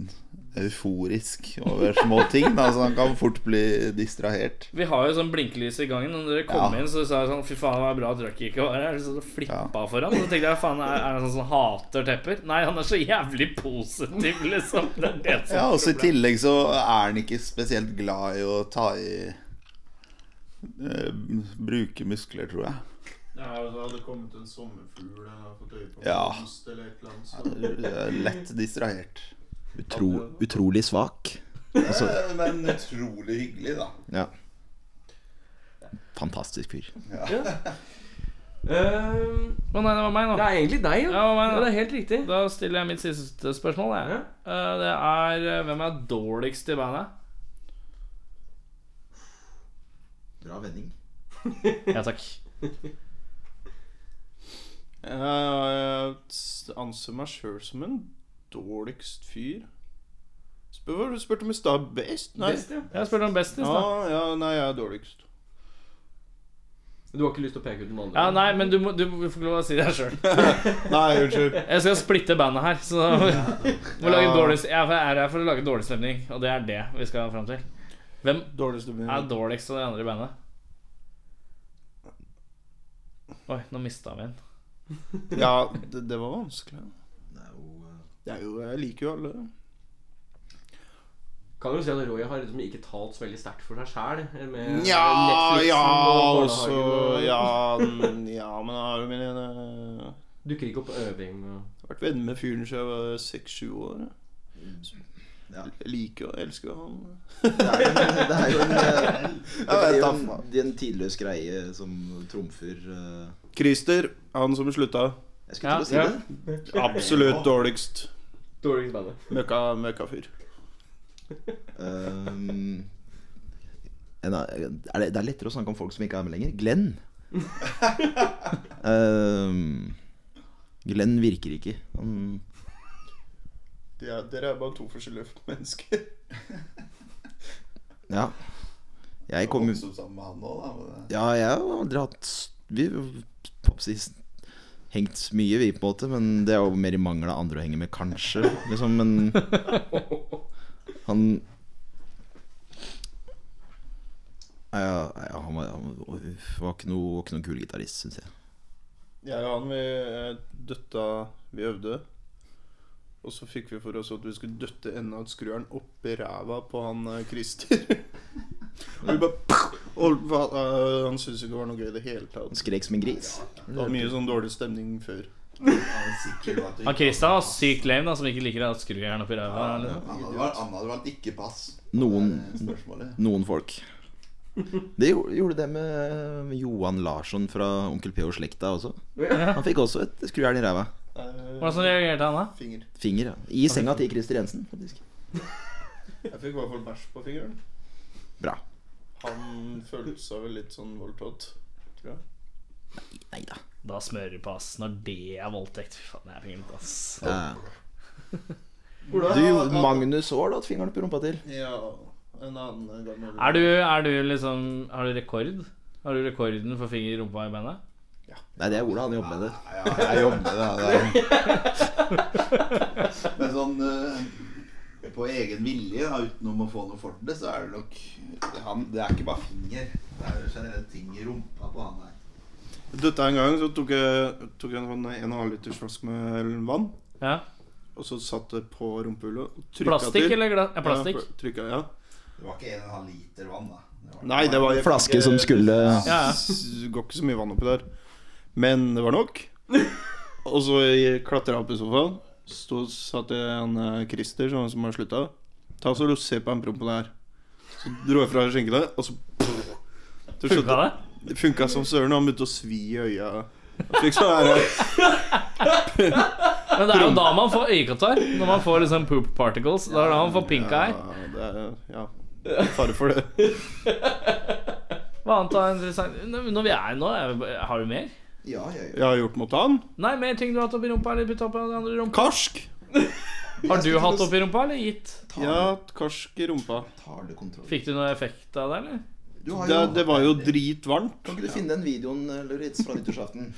euforisk over små ting. Da, så han kan fort bli distrahert. Vi har jo sånn blinkelys i gangen. Og når dere kom Ja. inn, så sa jeg sånn Fy faen, det var bra at Røkke ikke var her. liksom Så det flippa Ja. foran. Så tenkte jeg faen, er, er han sånn som hater tepper? Nei, han er så jævlig positiv, liksom. Det er det som Ja, også I tillegg så er han ikke spesielt glad i å ta i eh, Bruke muskler, tror jeg. Ja, og så hadde det kommet en sommerfugl eller hadde fått øye på en Ja. blomst eller et eller annet. Så. Eh, Lett distrahert. Utro, utrolig svak. Eh, Men utrolig hyggelig, da. Ja. Fantastisk fyr. Eh, Å nei, det var meg nå. Det er egentlig deg, Ja, det ja. var meg ja nå. det er helt riktig. Da stiller jeg mitt siste spørsmål. Jeg. Eh, Det er eh, hvem er dårligst i bandet? Bra vending. Ja takk. Jeg s- anser meg sjøl som en dårligst fyr. Spør hva du spurte om i stad. Best? Nei. best, ja. Jeg spurte om bestis, ja, da. ja, nei, jeg er dårligst. Du har ikke lyst til å peke ut den andre? Ja, Nei, men du, må, du får ikke lov å si det sjøl. [LAUGHS] Nei, unnskyld. Jeg skal splitte bandet her, så [LAUGHS] må lage dårlig, jeg er her for å lage dårlig stemning, og det er det vi skal fram til. Hvem Dårligst du er dårligst av de andre i bandet? Oi, nå mista vi en. Ja, det, det var vanskelig. Det er jo eh, Det er jo, jeg liker jo alle. Kan jo si at Roy har liksom ikke talt så veldig sterkt for seg sjæl. Nja, ja, også Ja, n- ja men jeg har jo min ene jeg har Dukker ikke opp på øving. Og... Vært venn med fyren siden jeg var seks-sju år. Mm. Ja. Jeg liker og elsker jo han. Det er jo en, eh, det vet er jo da en, det er en tidløs greie som trumfer eh, Christer, han som slutta. Jeg skulle Ja, til å si ja. det. Absolutt dårligst. Dårligst bandet. Møkka, møkkafyr. Um, en, av- er det, det er lettere å snakke om folk som ikke er med lenger. Glenn. [LAUGHS] um, Glenn virker ikke. Han, De er- Dere er bare to forskjellige [LAUGHS] mennesker. ja. Jeg kom jo Vokste opp sammen med han også, da. eh. men- Ja, jeg har aldri hatt s- Vi har hengt mye, vi, på en måte. Men det er jo mer i mangel av andre å henge med, kanskje. Liksom, men han Nei, Ja, nei, ja, han, var, han var ikke noe, ikke noen kul gitarist, syns jeg. Jeg og han, vi eh, døtta Vi øvde. Og så fikk vi for oss at vi skulle døtte enden av skrueren oppi ræva på han eh, Christer. [LAUGHS] Og vi bare og, eh, Han syntes ikke det var noe gøy i det hele Han tatt. skrek som en gris. Det var mye sånn dårlig stemning før. Han er sikker på at du Han Christian var sykt lame, da, som ikke liker å ha skrujern oppi ræva. liksom. Han hadde valgt, han hadde valgt ikke pass. Noen, Det er Spørsmålet. noen folk. Det gjo- gjorde det med Johan Larsson fra Onkel P og slekta også. Han fikk også et skrujern i ræva. Eh, Hvordan reagerte han da? Finger. Finger, ja. I senga til Christer Jensen, faktisk. eh, Jeg fikk i hvert fall bæsj på fingeren. Bra. Han følte seg vel litt sånn voldtatt. Tror jeg. Nei da. Da smører du på, ass. Når det er voldtekt, fy faen, det er fint, ass. [LAUGHS] Du, Magnus Aall har hatt fingeren på rumpa til. Ja, en annen gammel Er du, er du liksom Har du rekord? Har du rekorden for finger i rumpa i bandet? Nei, det er Ola. Han jobber med det. Ja, jeg jobber med det. det er- Men sånn eh, på egen vilje, da, utenom å få noe for det, så er det nok han, Det er ikke bare finger. Det er jo generelt ting i rumpa på han der. Døtta en gang, så tok jeg, tok jeg en sånn en og en halv liters flaske med vann. Ja. Og så satt det på rumpehullet og trykket Plastikk til. eller glass? Ja, plastikk. Ja, pl- trykket, ja. Det var ikke 1,5 liter vann, da. Det var, Nei, det var Flaske som skulle Ja, ja. Det går ikke så mye vann oppi der. Men det var [LAUGHS] nok. Og så klatra jeg opp i sofaen. Så satt jeg en eh, Christer, sånn som har slutta. Ta så du Se på den prompen her. Så dro jeg fra skjenkene, og så Til slutt Funka det? Det funka som søren, og han begynte å svi i øya. Han Fikk sånn her [LAUGHS] Men det er jo da man får øyekatarr. Når man får liksom poop particles. Det er da man får pink eye. Ja, det er, ja. Fare for det. Hva annet er interessant? Nå- Når vi er nå, er vi, bare- har du mer? Ja, ja, ja. Jeg har gjort mot han. Nei, mer ting du har hatt oppi rumpa eller putta oppi den andre rumpa? Karsk! Har du hatt oppi rumpa eller gitt? Tar, Ja, karsk i rumpa. tar du kontroll? Fikk du noe effekt av det, eller? Du har Det, jo, det var jo dritvarmt. Kan ikke du finne den videoen eh, Luritz, fra nyttårsaften?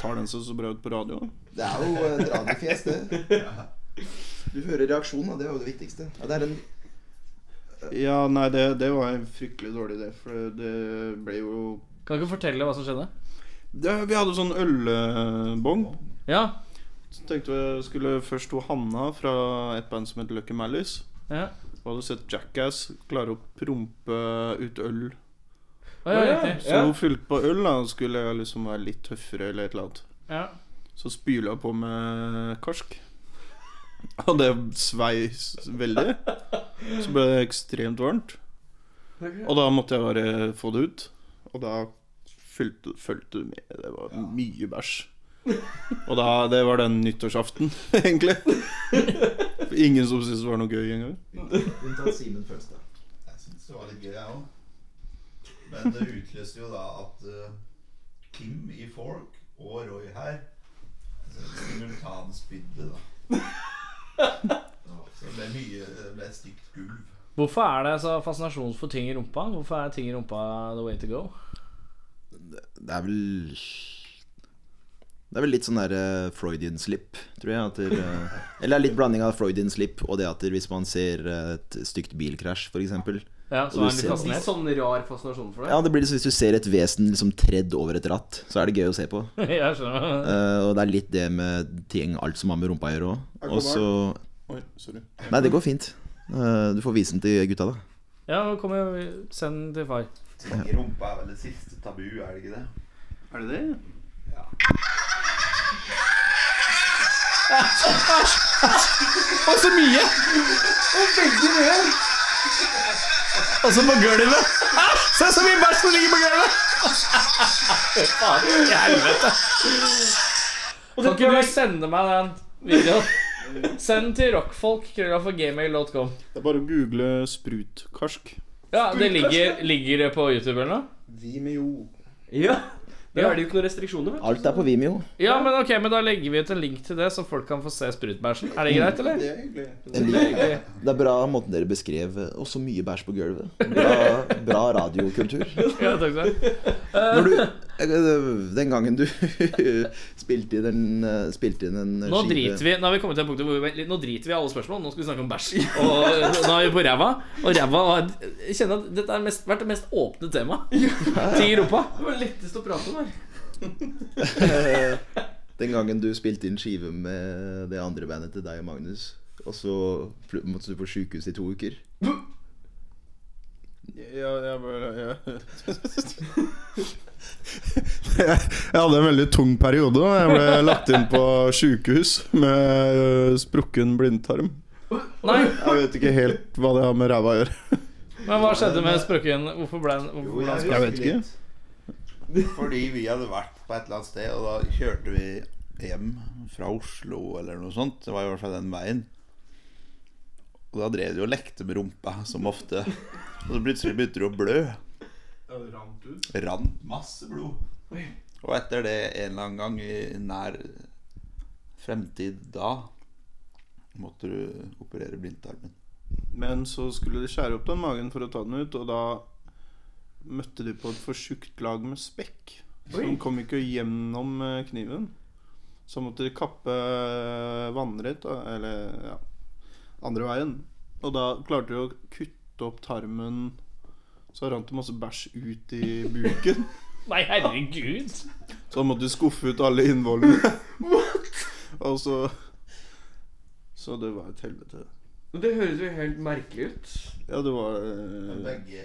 Tar den seg så bra ut på radio? Det er jo eh, et radiofjes, det. Du hører reaksjonen, og det er jo det viktigste. Ja, det er en Ja, nei, det, det var en fryktelig dårlig idé, for det ble jo Kan du ikke fortelle hva som skjedde? det, Vi hadde sånn ølbong. Ja. Så tenkte vi skulle først ho Hanna fra et band som heter Lucky Malice. ja. Hun hadde sett Jackass klare å prompe ut øl. Å, ja, riktig. Så hun fylte på øl da og skulle liksom være litt tøffere eller et eller annet. ja. Så spyla hun på med karsk. Og det svei s- veldig. Så ble det ekstremt varmt. Og da måtte jeg bare få det ut. Og da fulgte, fulgte det med. Det var mye bæsj. Og da, det var den nyttårsaften, [LAUGHS] egentlig. For Ingen som syntes det var noe gøy engang. Unntatt Simen Følstad. Jeg syns det var litt gøy, jeg òg. Men det utløste jo da at eh, Kim i Fork og Roy her altså, simultanspydde, da. Ja, Så det ble mye Det ble et stygt gulv. Hvorfor er det så fascinasjon for ting i rumpa? Hvorfor er ting i rumpa the way to go? Det er vel Det er vel litt sånn der eh, Freudian slip, tror jeg. At det, eh, eller det er litt blanding av Freudian slip og det at det, hvis man ser eh, et stygt bilkrasj, f.eks. Ja, så Og du er den litt ser- fascinert. [LAUGHS] Sånn rar fascinasjon for deg. Ja, det blir det så hvis du ser et vesen liksom tredd over et ratt, så er det gøy å se på. Jeg skjønner. Eh, og det er litt det med ting, alt som har med rumpa å gjøre òg. Og så Oi, sorry. Nei, det går fint. Eh, du får vise den til gutta, da. Ja, nå kommer jeg Send den til far. Ting i rumpa er vel det siste tabu, er det ikke det? Er det det? Og så mye! Og veldig mye. Og så Altså på gulvet. Æsj! Se så mye bæsj som ligger på gulvet! Faen i helvete. Kan ikke du sende meg den videoen? Send den til rockfolk.gmail.com. Det er bare å google sprutkarsk. Ja, det ligger, ligger det på YouTube eller noe? Vimeo. Ja. Da Ja. er det jo ikke noen restriksjoner. vet du. Alt er på Vimeo. Ja, men ok, men da legger vi ut en link til det, så folk kan få se sprutbæsjen. Er Mm. det greit, eller? Det er hyggelig. En lik- Det er bra måten dere beskrev eh, også mye bæsj på gulvet. Bra, bra radiokultur. Ja, takk skal du ha. Når du, eh, den gangen du [LAUGHS] spilte inn en, eh, spilte inn en Nå driter vi Nå har vi kommet til punktet hvor vi vent litt, Nå driter vi i alle spørsmål. Nå skal vi snakke om bæsj. Og nå er vi på ræva. Og ræva var- Jeg kjenner at dette har mest, vært det mest åpne temaet. Ting [LAUGHS] i rumpa. Det var lettest å prate om her. Den gangen du spilte inn skive med det andre bandet til deg og Magnus, og så fl- måtte du på sjukehus i to uker. Ja, jeg bare ja. Jeg hadde en veldig tung periode. og Jeg ble lagt inn på sjukehus med ø, sprukken blindtarm. Nei, Jeg vet ikke helt hva det har med ræva å gjøre. men hva skjedde med sprukken? Hvorfor ble den hvorfor ble den jeg, sprukken? Jeg vet ikke. [LAUGHS] Fordi vi hadde vært på et eller annet sted, og da kjørte vi hjem fra Oslo eller noe sånt. Det var i hvert fall den veien. Og da drev du og lekte med rumpa, som ofte. Og så plutselig begynte du å blø. Rant masse blod. Og etter det en eller annen gang i nær fremtid da måtte du operere blindtarmen. Men så skulle de skjære opp den magen for å ta den ut, og da møtte de på et for tjukt lag med spekk. Som kom ikke gjennom eh, kniven. Så måtte de kappe eh, vannrett, da, eller ja, andre veien. Og da klarte de å kutte opp tarmen. Så rant det masse bæsj ut i buken. Nei, herregud. Så da måtte de skuffe ut alle innvollene. Og så Så det var et helvete. Men Det høres jo helt merkelig ut. Ja, det var Men eh, Begge,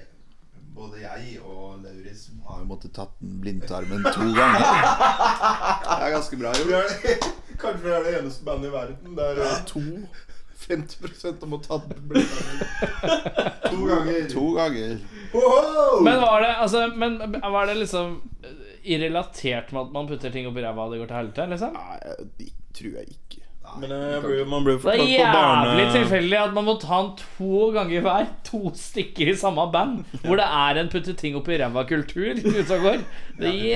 både jeg og Lauris har jo måttet tatt den blindtarmen [LAUGHS] to ganger. Det er ganske bra gjort. Kanskje vi er det [LAUGHS] eneste bandet i verden der eh, ja. to 50 om å ta blindtarmen. To ganger. Men var det, altså, men var det liksom irrelatert med at man putter ting opp i ræva og det går til helvete? liksom? Nei, det tror jeg ikke. Men jeg ble, man ble eh, jo Det er fortalt på jævlig barne... tilfeldig at man må ta den to ganger hver. To stykker i samme band. Hvor det er en putte ting opp i ræva-kultur ute og går. Det er jævlig Jeg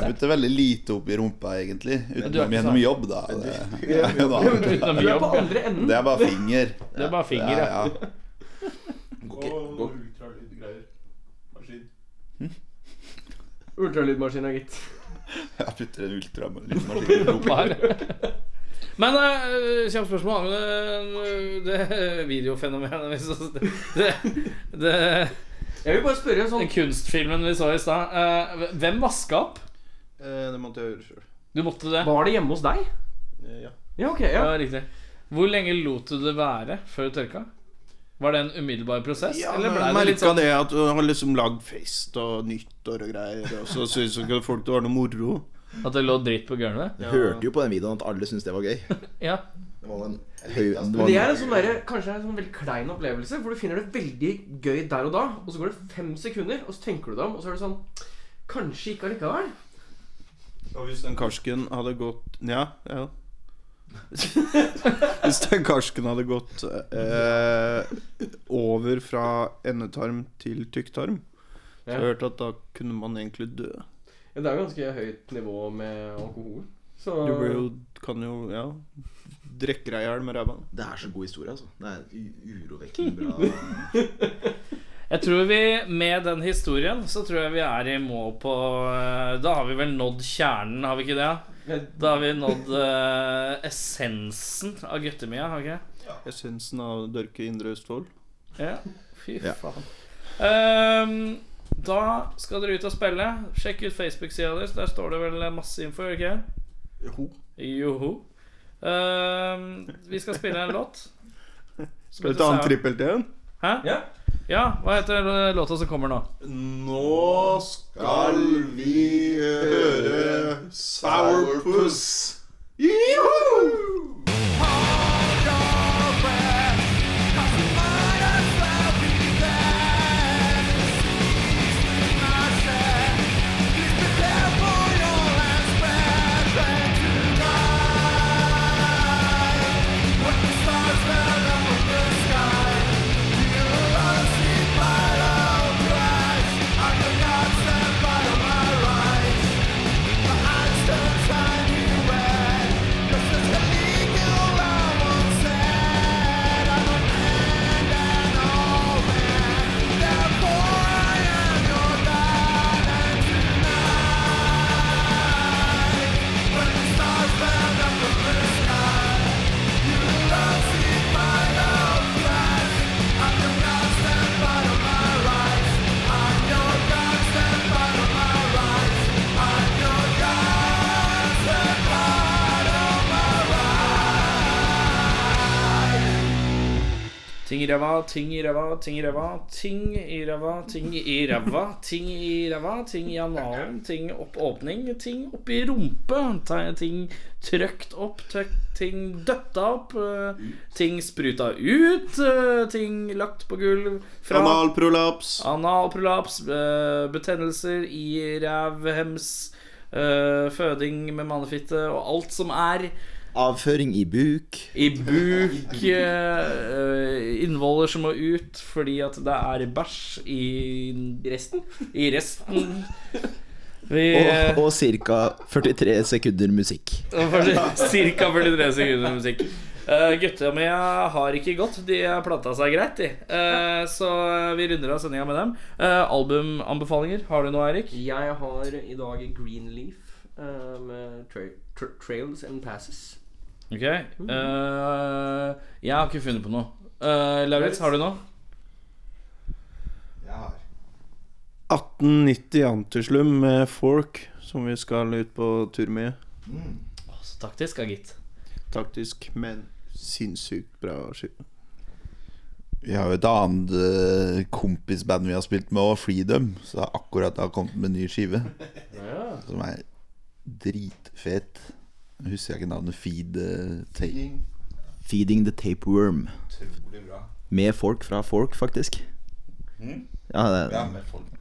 sterkt. putter veldig lite opp i rumpa, egentlig. du er ikke Utenom gjennom sånn. jobb, da. [LAUGHS] Det, ja, da. Utenom Du er jobb. på andre enden. det er bare finger. Det er bare [LAUGHS] finger, ja. Ja, ja. Og ultralydgreier. Maskin. Ultralydmaskina, gitt. Jeg putter en ultralydmaskin i rumpa. Bare. [LAUGHS] Men eh, kjapt spørsmål angående det [LAUGHS] videofenomenet vi så det, det, Jeg vil bare spørre sånn Den kunstfilmen vi så i stad. eh, hvem vaska opp? Eh, Det måtte jeg gjøre sjøl. Du måtte det? Var det hjemme hos deg? Eh, Ja. Ja, ok. ja Ja, riktig. Hvor lenge lot du det være før du tørka? Var det en umiddelbar prosess? Ja, eller men ble jeg det litt merka sånn det at du har liksom lagd fest og nyttår og greier, og så syns ikke folk det var noe moro. at det lå dritt på gulvet? Jeg hørte jo på den videoen at alle syntes det var gøy. Det Ja. var en høy, det Men var det en, er en sånn der, kanskje en sånn veldig klein opplevelse, hvor du finner det veldig gøy der og da, og så går det fem sekunder, og så tenker du deg om, og så er det sånn Kanskje ikke allikevel. Og hvis den karsken hadde gått Nja, ja. [LAUGHS] Hvis den karsken hadde gått eh, over fra endetarm til tykktarm, Ja. så har jeg hørt at da kunne man egentlig dø. Ja, det er jo ganske høyt nivå med alkohol. Så Du blir jo, kan jo ja, drikke deg i hjel med ræva. det er så god historie, altså. Det er u- urovekkende bra. Jeg tror vi med den historien så tror jeg vi er i mål på eh, Da har vi vel nådd kjernen, har vi ikke det? Da har vi nådd eh, essensen av guttemia, har vi ikke? Essensen av å dørke indre Østfold. det? Ja. Fy Ja. faen. Ehm, da skal dere ut og spille. Sjekk ut Facebook-sida deres. Der står det vel masse info, gjør det ikke? Joho. Ehm, vi skal spille en låt. Skal vi ta en trippel til igjen? Hæ? Ja. Ja, hva heter eh, låta som kommer nå? Nå skal vi høre Sourpuss. Ting i ræva, ting i ræva, ting i ræva, ting i ræva, ting i ræva, ting i ræva, ting i analen, ting opp åpning, ting opp i rumpe, te- ting trøkt opp, trøkt, ting døtta opp, eh, ting spruta ut, eh, ting lagt på gulv fra Analprolaps. Analprolaps, eh, betennelser i rævhems, eh, føding med mannefitte og alt som er. Avføring i buk. I buk eh, Innvoller som må ut fordi at det er bæsj i resten. I resten. Vi Og, oh, og ca. 43 sekunder musikk. eh, Cirka 43 sekunder musikk. Uh, gutta mine har ikke gått. De har planta seg greit, de. Eh, så vi runder av sendinga med dem. Eh, albumanbefalinger. Har du noe, Eirik? Jeg har i dag Greenleaf eh, med tra tra Trails and Passes. Ok. Eh, jeg har ikke funnet på noe. Uh, Lauritz, har du noe? Jeg har 1890 Antislum med Fork, som vi skal ut på tur med. Å, Så taktisk, ja, gitt. Taktisk, men sinnssykt bra skive. Vi har jo et annet eh, kompisband vi har spilt med òg, Freedom. Så det er akkurat det har kommet med en ny skive, som er dritfet. Jeg husker jeg ikke navnet. Feed eh, Tape. Feeding the tapeworm. utrolig bra. Med folk fra folk, faktisk. Ja, det er Ja, med folk.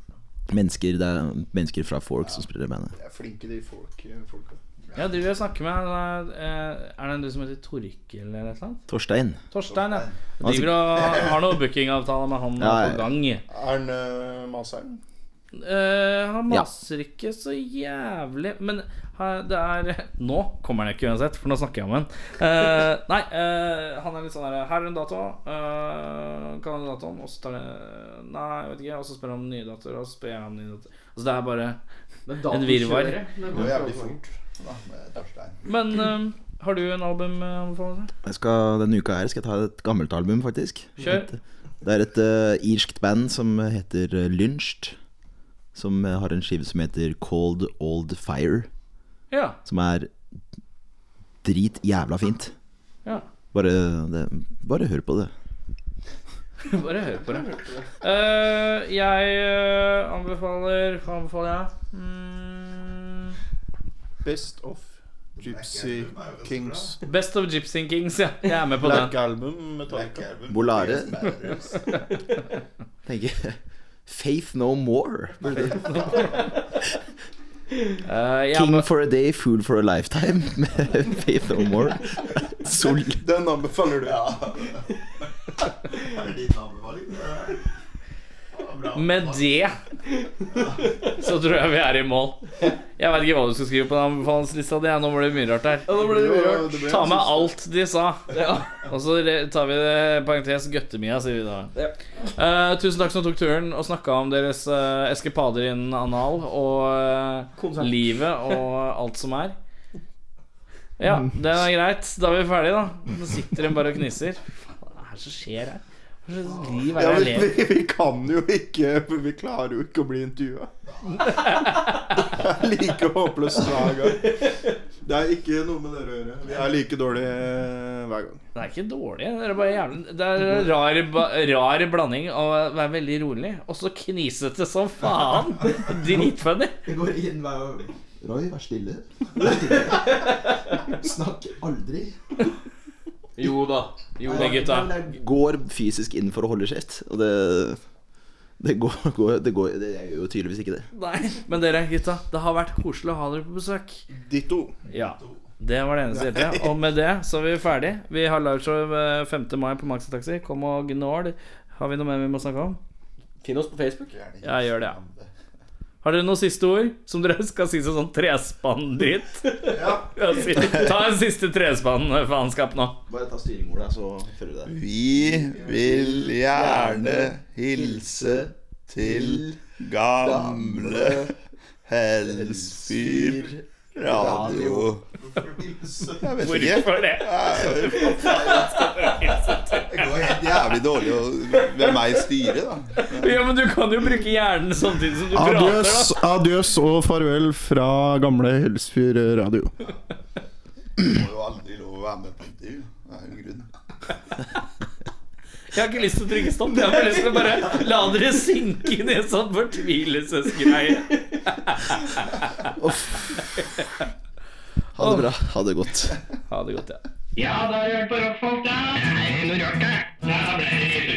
mennesker, det er mennesker fra Forks som spiller i bandet. De er flinke, de folk, eh, folka. Jeg driver og snakker med han, eh, Er det en du som heter Torkil eller et eller annet? Torstein. Torstein, ja. Driver og har noen bookingavtaler med han Ja, ja. på gang. Er han øh, maseren? Eh, han Ja. maser ikke så jævlig Men ha- det er Nå kommer han ikke uansett, for nå snakker jeg om han. Eh, nei, eh, han er litt sånn her Her er en dato. eh, kan ha datoen, og så tar det Nei, jeg vet ikke. Og så spør han om nye datoer, og så spør jeg om nye datoer. Altså, det er bare Men da En virvar. kjører jeg. Det Det går går jævlig så mange. fort da, med Torstein. Men eh, har du en eh, albumanbefaling? Jeg skal, denne uka her skal jeg ta et gammelt album, faktisk. Kjør. Et, det er et eh, irskt band som heter eh, Lynched. Som eh, har en skive som heter Cold Old Fire. Ja. Som er drit jævla fint. Ja. Bare, det, bare hør på det. Bare hør på det. Eh, jeg eh, anbefaler Hva anbefaler jeg? Mm, Best of Gypsy Kings. Best of Gypsy Kings, ja. Jeg er med på den. Black Album, Black Metallica. Album. Bolare. Badass. [LAUGHS] Tenker jeg. Faith No More. Eh, jeg King anbe- for a Day, Fool for a Lifetime [LAUGHS] med Faith No More. [LAUGHS] Sol. Den anbefaler du. Er det din anbefaling? Det er- Det var bra. med det så tror jeg vi er i mål. Jeg vet ikke hva du skal skrive på den anbefalingslista di. ja. Nå ble det mye rart her. Ja, nå ble det rørt. Det ble- Ta med alt de sa. Og så re- tar vi det parentes Gøttemia, sier vi da. Ja. Eh, tusen takk som tok turen og snakka om deres eh, eskepader innen anal og eh, Konsert. livet og [LAUGHS] alt som er. Ja, det er greit. Da er vi ferdige, da. Nå sitter de bare og gnisser. Faen, Hva er det som skjer her? Hva slags liv er Ja, det jeg vi, lever? vi, vi kan jo ikke Vi klarer jo ikke å bli intervjua. Det er like håpløst hver gang. Det er ikke noe med dere å gjøre. Vi er like dårlige eh, hver gang. Det er ikke dårlig. Det er bare jævlig Det er en rar, ba- rar blanding av å være veldig rolig og så knisete som faen. [LAUGHS] Dritfunny. Det går inn hver Roy, vær [LAUGHS] stille. Snakk aldri. Jo da. Jo da. Men gutta, går fysisk inn for å holde kjeft. Og det, det går, går det går det, Jeg gjør jo tydeligvis ikke det. Nei, men dere gutta, det har vært koselig å ha dere på besøk. Ditto. Ja, det var det eneste jeg hørte. Og med det så er vi ferdig. Vi har liveshow eh, 5. mai på Maxi Taxi. Kom og gnål. Har vi noe mer vi må snakke om? Finn oss på Facebook. Ja, gjør det, ja. Har dere noen siste ord som dere [LAUGHS] skal si som sånn trespann-dritt? [LAUGHS] Ja, si- Ta en siste trespann-faenskap nå. Bare ta styringordet, så følger du det. Vi vil gjerne hilse til gamle Helsfyr Radio. Jeg vet ikke. Hvorfor det? Det går helt jævlig dårlig å Hvem er i styret, da? Ja, men du kan jo bruke hjernen samtidig som du prater, da. adjøs og farvel fra gamle Helsfyr radio. Det må jo aldri lov å være med på intervju. Det er jo en grunn. Jeg har ikke lyst til å trykke stopp. Jeg har bare lyst til å bare la dere synke inn i en sånn fortvilelsesgreie. Ha det bra. Ha det godt. Ha det godt, ja. Ja, da har du hørt på rockfolk, da. Det er noe rart, det. Da ble det